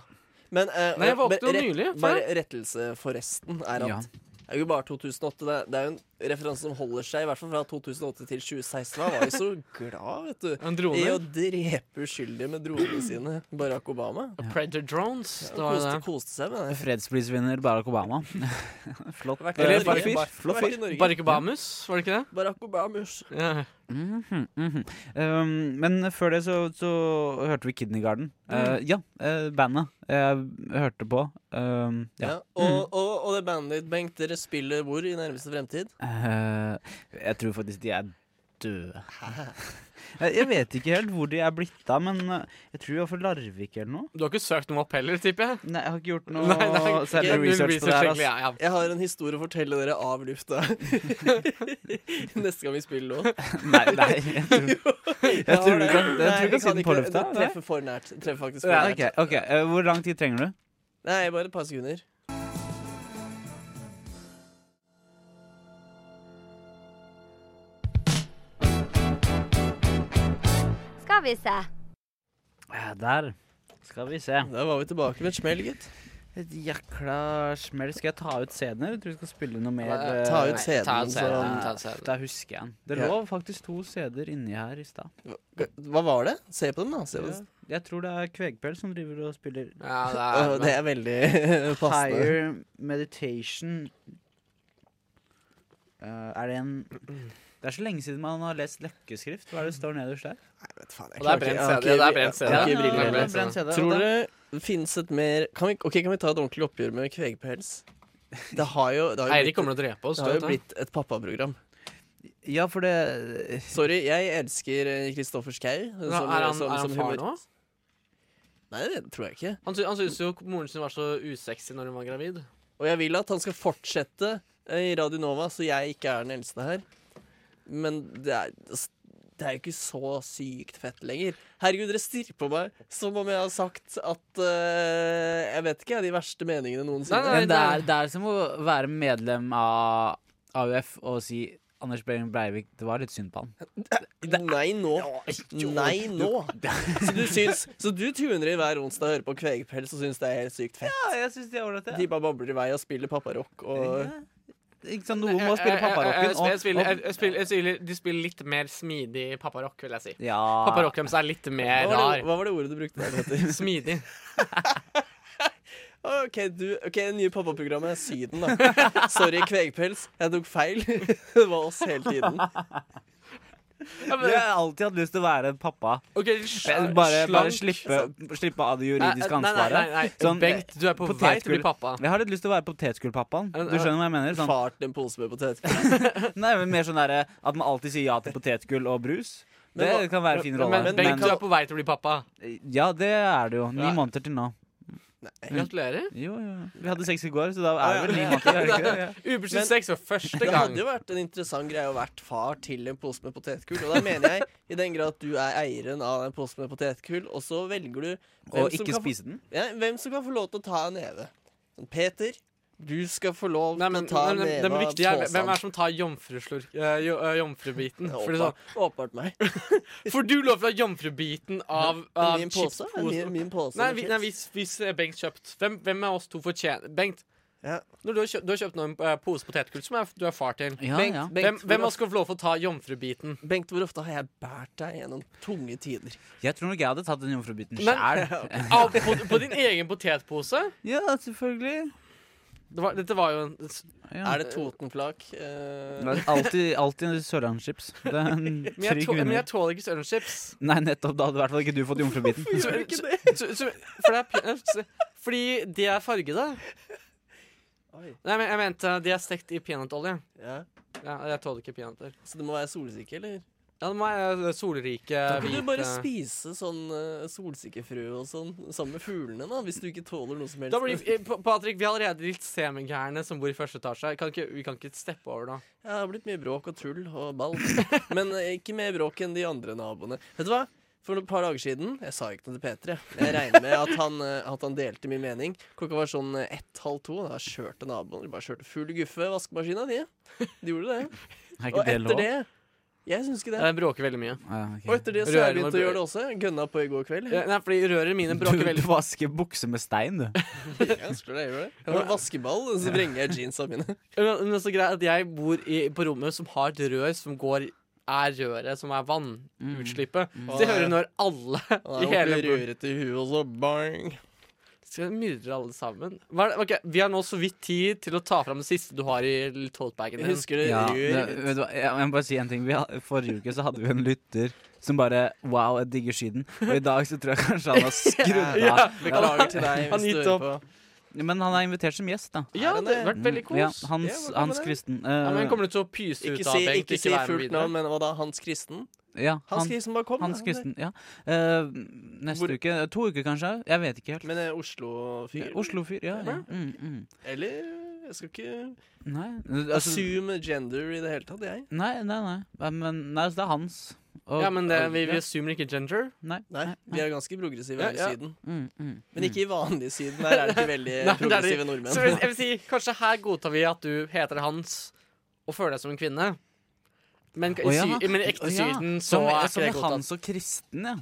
S9: Men eh,
S8: Nei, jeg våknet
S9: men
S8: jo
S9: rett-
S8: nylig, for
S9: Bare rettelse, forresten, er at
S4: Ja.
S9: Det er jo ikke bare 2008. Det er, det er jo en referanse som holder seg, i hvert fall fra 2008 til 2016. Han var jo så glad, vet
S8: <laughs>
S9: du.
S8: En
S9: I å
S8: drone.
S9: drepe uskyldige med dronene sine. Barack Obama.
S8: Predator drones. Det var jo
S9: Koste,
S8: det.
S9: koste seg med det.
S4: Fredsprisvinner Barack Obama. <laughs> Flott.
S9: Vært i
S8: Eller
S9: Norge,
S8: bare-
S9: bare-
S8: bare-
S4: Flott
S9: vært i
S4: fyr.
S9: Norge.
S8: Barack Obamus, var det ikke det?
S9: Barack Obamus.
S8: Ja.
S4: Mhm, mhm. Um, men før det så, så hørte vi Kidneygarden. Uh, ja, eh, bandet jeg hørte på. Um, ja.
S9: Ja.
S8: Mm.
S9: Og, og, og det bandet ditt, Bengt, dere spiller hvor i nærmeste fremtid?
S4: Eh, jeg tror faktisk de er døde. <laughs> Jeg jeg vet ikke helt hvor de er blitt av, men eh, jeg tror de var fra Larvik eller noe.
S8: Du har ikke søkt noe opp heller, tipper jeg?
S4: Nei, jeg har ikke gjort noe
S8: Nei, det er-
S4: særlig
S8: Null
S4: research, på det her. ass.
S8: egentlig, ja, ja.
S9: Jeg har en historie å fortelle dere av lufta. <laughs> Neste gang vi spiller låt.
S4: <laughs> Nei, nei, jeg tror, <laughs> jeg tror du kan, jeg
S9: Nei,
S4: tror du kan si
S9: kan
S4: den
S9: ikke.
S4: på lufta.
S9: Det
S4: nei.
S9: treffer for nært. Det Treffer faktisk for
S4: Ja,
S9: nært.
S4: ok, ok. Eh, Hvor lang tid trenger du?
S9: Nei, bare et par sekunder.
S3: Skal vi se.
S4: Eh, Der. Skal vi se.
S9: Da var vi tilbake med et smell, gitt.
S4: Et jækla smell. Skal jeg ta ut CD-en, eller tror du vi skal spille noe mer?
S8: Nei,
S9: Ta ut
S4: eh,
S9: CD-en.
S8: ta ut CD-en.
S9: så-
S8: ta Sånn ut altså. CD-en.
S4: Da husker jeg den. Det
S9: Ja.
S4: lå faktisk to CD-er inni her i stad.
S9: Hva var det? Se på den, da. Se på den.
S4: Jeg tror det er Kvegpel som driver og spiller
S8: Ja,
S9: Åh, <laughs> det er veldig passende.
S4: Higher Meditation. Eh, er det en
S9: <clears throat>
S4: Det er så lenge siden man har lest løkkeskrift. Hva er det det står nederst der?
S9: Vet faen, jeg
S8: Og det er
S9: klarer ikke-
S8: brent
S9: jeg har
S8: CD, det er
S9: ikke-
S8: brent
S9: jeg har ikke
S8: CD.
S9: briller
S8: Ja,
S9: heller.
S8: det er
S4: Brent CD,
S9: Tror
S4: og da-
S9: dere det finnes et mer kan vi, Ok, kan vi ta et ordentlig oppgjør med kvegpels? Det har jo, det har jo
S8: Eirik
S9: blitt,
S8: kommer til å drepe oss.
S9: det har jo
S8: du vet det.
S9: blitt et pappaprogram.
S4: Ja, for det
S9: Sorry, jeg elsker eh, Kristoffer Schau.
S8: Er han, er han far
S9: humor-
S8: nå?
S9: Nei, det tror jeg ikke.
S8: Han, sy han syntes jo moren sin var så usexy når hun var gravid.
S9: Og jeg vil at han skal fortsette eh, i Radio Nova, så jeg ikke er den eldste her. Men det er, det er jo ikke så sykt fett lenger. Herregud, dere stirrer på meg som om jeg har sagt at eh, Jeg vet ikke, jeg, de verste meningene noensinne.
S8: Nei, nei.
S4: Men det er, det er som å være medlem av AUF og si Anders Behring Breivik, det var litt synd på han.
S9: Nei, nå. Nei, nå. Så du, syns, så du tuner inn hver onsdag og hører på Kvegpels og syns det er helt sykt fett?
S4: Ja, jeg syns det er ålreit,
S9: De bare babler i vei og spiller papparock og
S4: Ikke sant, noen må
S8: Eh,
S4: spille
S8: Jeg- jeg- jeg- jeg spiller-
S4: papparocken.
S8: jeg- jeg spiller- jeg spiller- De spiller litt mer smidig papparock, vil jeg si.
S4: Ja.
S8: Papparock deres er litt mer
S9: hva var, det,
S8: rar.
S9: hva var det ordet du brukte der, Petter?
S8: Smidig.
S9: OK, du, ok, det nye pappaprogrammet er Syden, <laughs>
S8: <laughs>
S9: da. Sorry, Kvegpels. Jeg tok feil. Det var oss hele tiden.
S4: Jeg har alltid hatt lyst til å være en pappa.
S8: Ok, sl-
S4: bare, bare
S8: slank.
S4: slippe, slippe av det
S8: Nei,
S4: juridiske
S8: nei, nei,
S4: ansvaret.
S8: nei, nei. Bengt, du er på vei til å bli
S4: potetgull.
S8: pappa.
S4: Jeg har litt lyst til å være potetgullpappaen. Du skjønner hva jeg mener? Sånn.
S9: Fart en pose med potetgull.
S4: Nei, men Mer sånn derre at man alltid sier ja til potetgull og brus. Det
S9: Men hva-
S4: kan være en fin
S8: Men,
S4: rolle.
S8: men Bengt, du er
S4: Men,
S8: på vei til å bli pappa.
S4: ja, det er det jo. Ni
S8: Ja.
S4: måneder til nå.
S8: Mm. Gratulerer.
S4: Jo, jo. Vi hadde sex i går, så da er det vel ni måneder. er det ikke
S8: <laughs>
S4: det?
S8: Ubeskyttet sex for første
S9: Det
S8: gang.
S9: hadde jo vært en interessant greie å vært far til en pose med potetgull. Og da mener jeg, i den grad du er eieren av den posen med potetgull, og så velger du hvem
S4: Og
S9: som
S4: ikke
S9: kan få-
S4: spise den.
S9: Ja, hvem som kan få lov til å ta en neve. Sånn, Peter, du skal få lov
S8: Nei, men,
S9: til å ta
S8: nei,
S9: en
S8: nei,
S9: neve
S8: det viktige er
S9: av
S8: hvem er
S9: påsen.
S8: det som tar jomfruslurk eh, jo, eh, jomfrubiten. For, det er
S9: Åpenbart- Åpenbart meg.
S8: sånn, får du lov til å ha jomfrubiten av, av
S9: Min pose? er Min,
S8: chipsposen?
S9: min pose
S8: Ah, Nei,
S9: med
S8: vi,
S9: chips.
S8: nei hvis, hvis eh, Bengt kjøpt Hvem, hvem av oss to fortjener Bengt,
S9: Ja.
S8: når du, har kjøpt, du har kjøpt nå en eh, pose potetgull som er, du er far til.
S4: Ja,
S9: Bengt,
S4: ja.
S9: Bengt,
S8: Hvem, hvem
S9: hvor
S8: av oss skal få lov til å ta <laughs> jomfrubiten?
S9: ofte, Bengt, hvor ofte har jeg båret deg gjennom tunge tider?
S4: Jeg tror nok jeg hadde tatt den jomfrubiten
S8: Nei.
S4: sjæl.
S8: <laughs> Av, på, på din egen potetpose?
S4: Ja, selvfølgelig.
S8: Det var, dette var jo en
S4: Ja.
S9: Er det Totenflak? Eh,
S4: Men Alltid, alltid Sørlandschips. Det er en
S8: Men jeg,
S4: trygg
S8: tå, men
S4: vinner.
S8: jeg tåler ikke sørenskips.
S4: Nei, nettopp. Da hadde i hvert fall ikke du fått
S9: <laughs>
S4: jomfrubiten.
S8: Så- så- så- for det er peanøtt- Fordi de er fargede.
S9: Oi.
S8: Nei, men jeg mente de er stekt i peanøttolje.
S9: ja.
S8: Ja, jeg tåler ikke peanøtter.
S9: Så det må være solsikke, eller?
S8: Ja, det må være solrike,
S9: Kan ikke
S8: hvite
S9: du bare spise sånn eh, solsikkefrø og sånn sammen med fuglene, da? Hvis du ikke tåler noe som helst.
S8: da blir, eh, Pa- Patrick, vi er allerede litt semigærne som bor i første etasje. Kan ikke, vi kan ikke steppe over nå.
S9: Ja, det har blitt mye bråk og tull og ball. Men eh, ikke mer bråk enn de andre naboene. Vet du hva? For et par dager siden Jeg sa ikke noe til Peter. Jeg, jeg regner med at han, eh, at han delte min mening. Klokka var sånn eh, ett-halv to. Da kjørte naboen. De bare kjørte full guffe vaskemaskina, de. De gjorde det.
S4: Er
S9: Og
S4: ikke det
S9: etter
S4: lov?
S9: det Jeg syns ikke det.
S8: Jeg Eh, bråker veldig mye.
S4: Ah,
S9: Og
S4: ok.
S9: etter det så har jeg
S8: Rører må
S9: begynt å
S8: bli-
S9: gjøre det også. Jeg Gønna på i går kveld.
S8: Eh, Nei, fordi rørene mine
S4: Du,
S8: bråker veldig
S4: du vasker bukser med stein, du.
S9: <laughs> Jeg skulle det, jeg gjorde det. Jeg har vaskeball, og så vrenger jeg jeansa mine.
S8: Men, men så greit at jeg bor i, på rommet som har et rør som går er røret som er vannutslippet. Så jeg hører når alle
S9: Han
S8: <laughs> i
S9: er
S8: hele
S9: ordentlig
S8: bur-
S9: rørete i huet, og så bang.
S8: Skal jeg myrde alle sammen? Hva er det? Ok, Vi har nå så vidt tid til å ta fram det siste du har i totebagen
S9: Jeg
S8: din.
S9: husker det.
S4: Ja, det,
S9: rør.
S4: vet du hva, jeg jeg må bare si en ting. Vi, ha- forrige uke så hadde vi en lytter som bare Wow, jeg digger Syden. Og i dag så tror jeg kanskje
S9: <laughs>
S4: han har skrudd av.
S8: Ja,
S9: Beklager
S4: <laughs>
S9: til deg. hvis
S8: Han
S9: du
S8: gitt
S9: hører
S8: opp.
S9: på.
S4: Men han er invitert som gjest, da.
S8: ja, det har vært veldig kos.
S4: Mm. Ja,
S8: Ja,
S4: Hans,
S9: Ja, hva kan
S4: Hans
S9: det?
S4: Kristen.
S8: men
S4: eh,
S8: kommer du til å pyse ut
S9: Ikke
S8: av
S9: si,
S8: Bengt?
S9: ikke si
S8: være med
S9: fullt
S8: videre?
S9: navn, men hva da? Hans Kristen?
S4: ja,
S9: Hans
S4: han,
S9: Kristen, bare kom.
S4: Hans
S9: da.
S4: Kristen. Ja. Eh, neste
S9: Hvor-
S4: uke. To uker kanskje? Jeg vet ikke helt.
S9: Men eh, Oslo-fyr?
S4: Oslo-fyr, ja. ja. Mm, mm.
S9: Eller jeg skal ikke
S4: Nei. Altså,
S9: assume gender i det hele tatt, jeg.
S4: nei, nei, nei. Nei, Men nei, så det er hans. Og-
S8: Ja, men det, vi, vi
S4: Ja.
S8: assumer ikke gender.
S4: Nei.
S9: Nei, Vi er ganske progressive her
S8: Ja, ja.
S9: i Syden.
S4: Mm, mm,
S9: Men ikke i vanlig Syden. Her er det ikke veldig
S4: eh,
S8: Nei, det er det-
S9: progressive nordmenn.
S8: Så jeg,
S4: <laughs>
S8: jeg vil si, kanskje her godtar vi at du heter Hans og føler deg som en kvinne. Men i,
S4: Å, ja.
S8: sy men i ekte
S4: Å, ja.
S8: Syden så
S4: Som,
S8: er
S4: som
S8: ikke det
S4: i
S8: godtatt.
S4: Hans og Kristen, ja.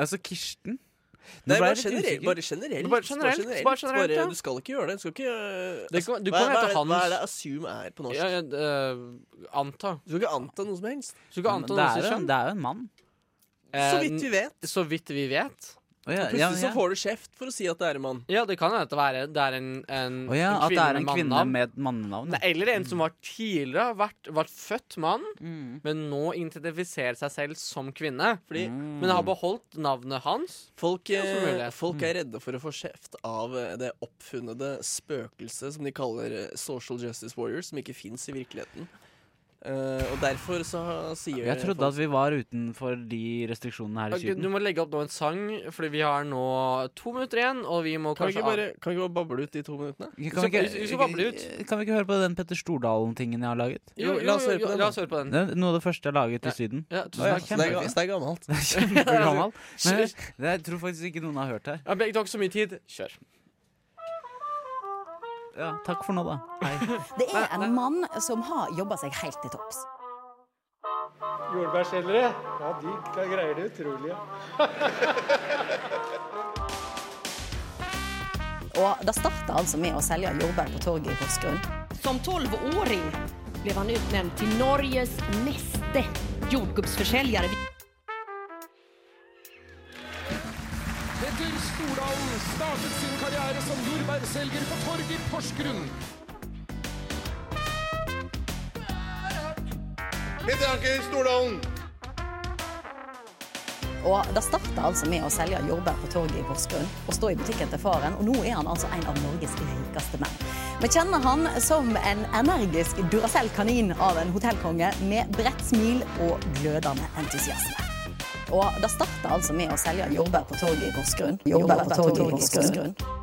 S4: Altså Kirsten. Nå
S9: Nei,
S4: ble
S9: bare
S4: jeg litt
S9: generelt.
S4: usikker.
S9: Bare generelt.
S8: Bare generelt, bare generelt, ja.
S9: du skal ikke gjøre det. Du skal ikke øh,
S8: Det kan- du
S9: hva, hva,
S8: kan hete
S9: er det- hva
S8: Hans.
S9: er det assume er på norsk?
S8: Ja, ja, eh, anta.
S9: Du skal ikke anta noe som helst.
S8: Så ikke
S4: Men
S8: anta
S4: det,
S8: noe
S4: er jo,
S8: som
S4: det er jo en mann.
S8: Eh,
S9: Så vidt vi vet.
S8: Så vidt vi vet.
S4: Å ja, ja,
S9: Plutselig så
S4: ja.
S9: får du kjeft for å si at det er en mann.
S8: Ja, det kan hende at det, være, det er en, en,
S4: Å ja,
S8: en
S4: at det er en
S8: med
S4: kvinne
S8: mannenavn.
S4: med et mannenavn.
S8: Nei,
S4: ja.
S8: Eller en som var tidligere vært, vært født mann,
S4: Mm.
S8: men nå identifiserer seg selv som kvinne. Fordi,
S4: Mm.
S8: Men har beholdt navnet hans.
S9: Folk,
S8: er også
S9: eh,
S8: mulig. Mm.
S9: folk er redde for å få kjeft av eh, det oppfunnede spøkelset som de kaller eh, social justice warriors, som ikke fins i virkeligheten. Eh, og derfor så ha- sier
S4: Jeg trodde at vi var utenfor de restriksjonene her i
S8: Ok, Ah, du
S4: Syden.
S8: må legge opp nå en sang, fordi vi har nå to minutter igjen, og vi må
S9: kan vi,
S8: kanskje
S9: ikke bare, kan vi ikke bare bable ut de to minuttene?
S4: Kan vi,
S8: vi skal bable
S4: ikke, kan vi ikke høre på den Petter Stordalen-tingen jeg har laget?
S8: Jo, jo,
S9: La oss
S8: jo,
S9: høre på
S8: jo,
S9: den,
S8: la
S9: da.
S8: oss høre på den.
S4: Det er noe av det første jeg har laget i Syden.
S8: Ja,
S4: Å ja,
S9: Så
S8: tusen
S9: det, er,
S8: takk.
S9: ga-
S4: kjempefint.
S9: så det er gammelt.
S4: Det er <laughs> kjempegammel. Men det- jeg tror faktisk ikke noen har hørt her.
S8: Ja, Begge tok så mye tid. Kjør.
S4: Ja, takk for nå, da.
S11: Det er en mann som har jobba seg helt til topps.
S12: Jordbærselgere, ja, de greier det utrolig. Ja.
S11: Og det starta altså med å selge jordbær på torget i Porsgrunn.
S13: Som tolvåring blev han utnämnd till Norges meste jordgubbsförsäljare.
S12: Petter Stordalen startet sin karriere som jordbærselger på torg i Porsgrunn. Petter Anker Stordalen.
S8: Og det starta altså med å selge jordbær på torget i Porsgrunn og stå i butikken til faren, og nå er han altså en av Norges rikeste menn. Vi kjenner han som en energisk Duracell-kanin av en hotellkonge med bredt smil og glødende entusiasme. Og det starta altså med å selge jordbær på torget i Porsgrunn. Jordbær på torget i Porsgrunn.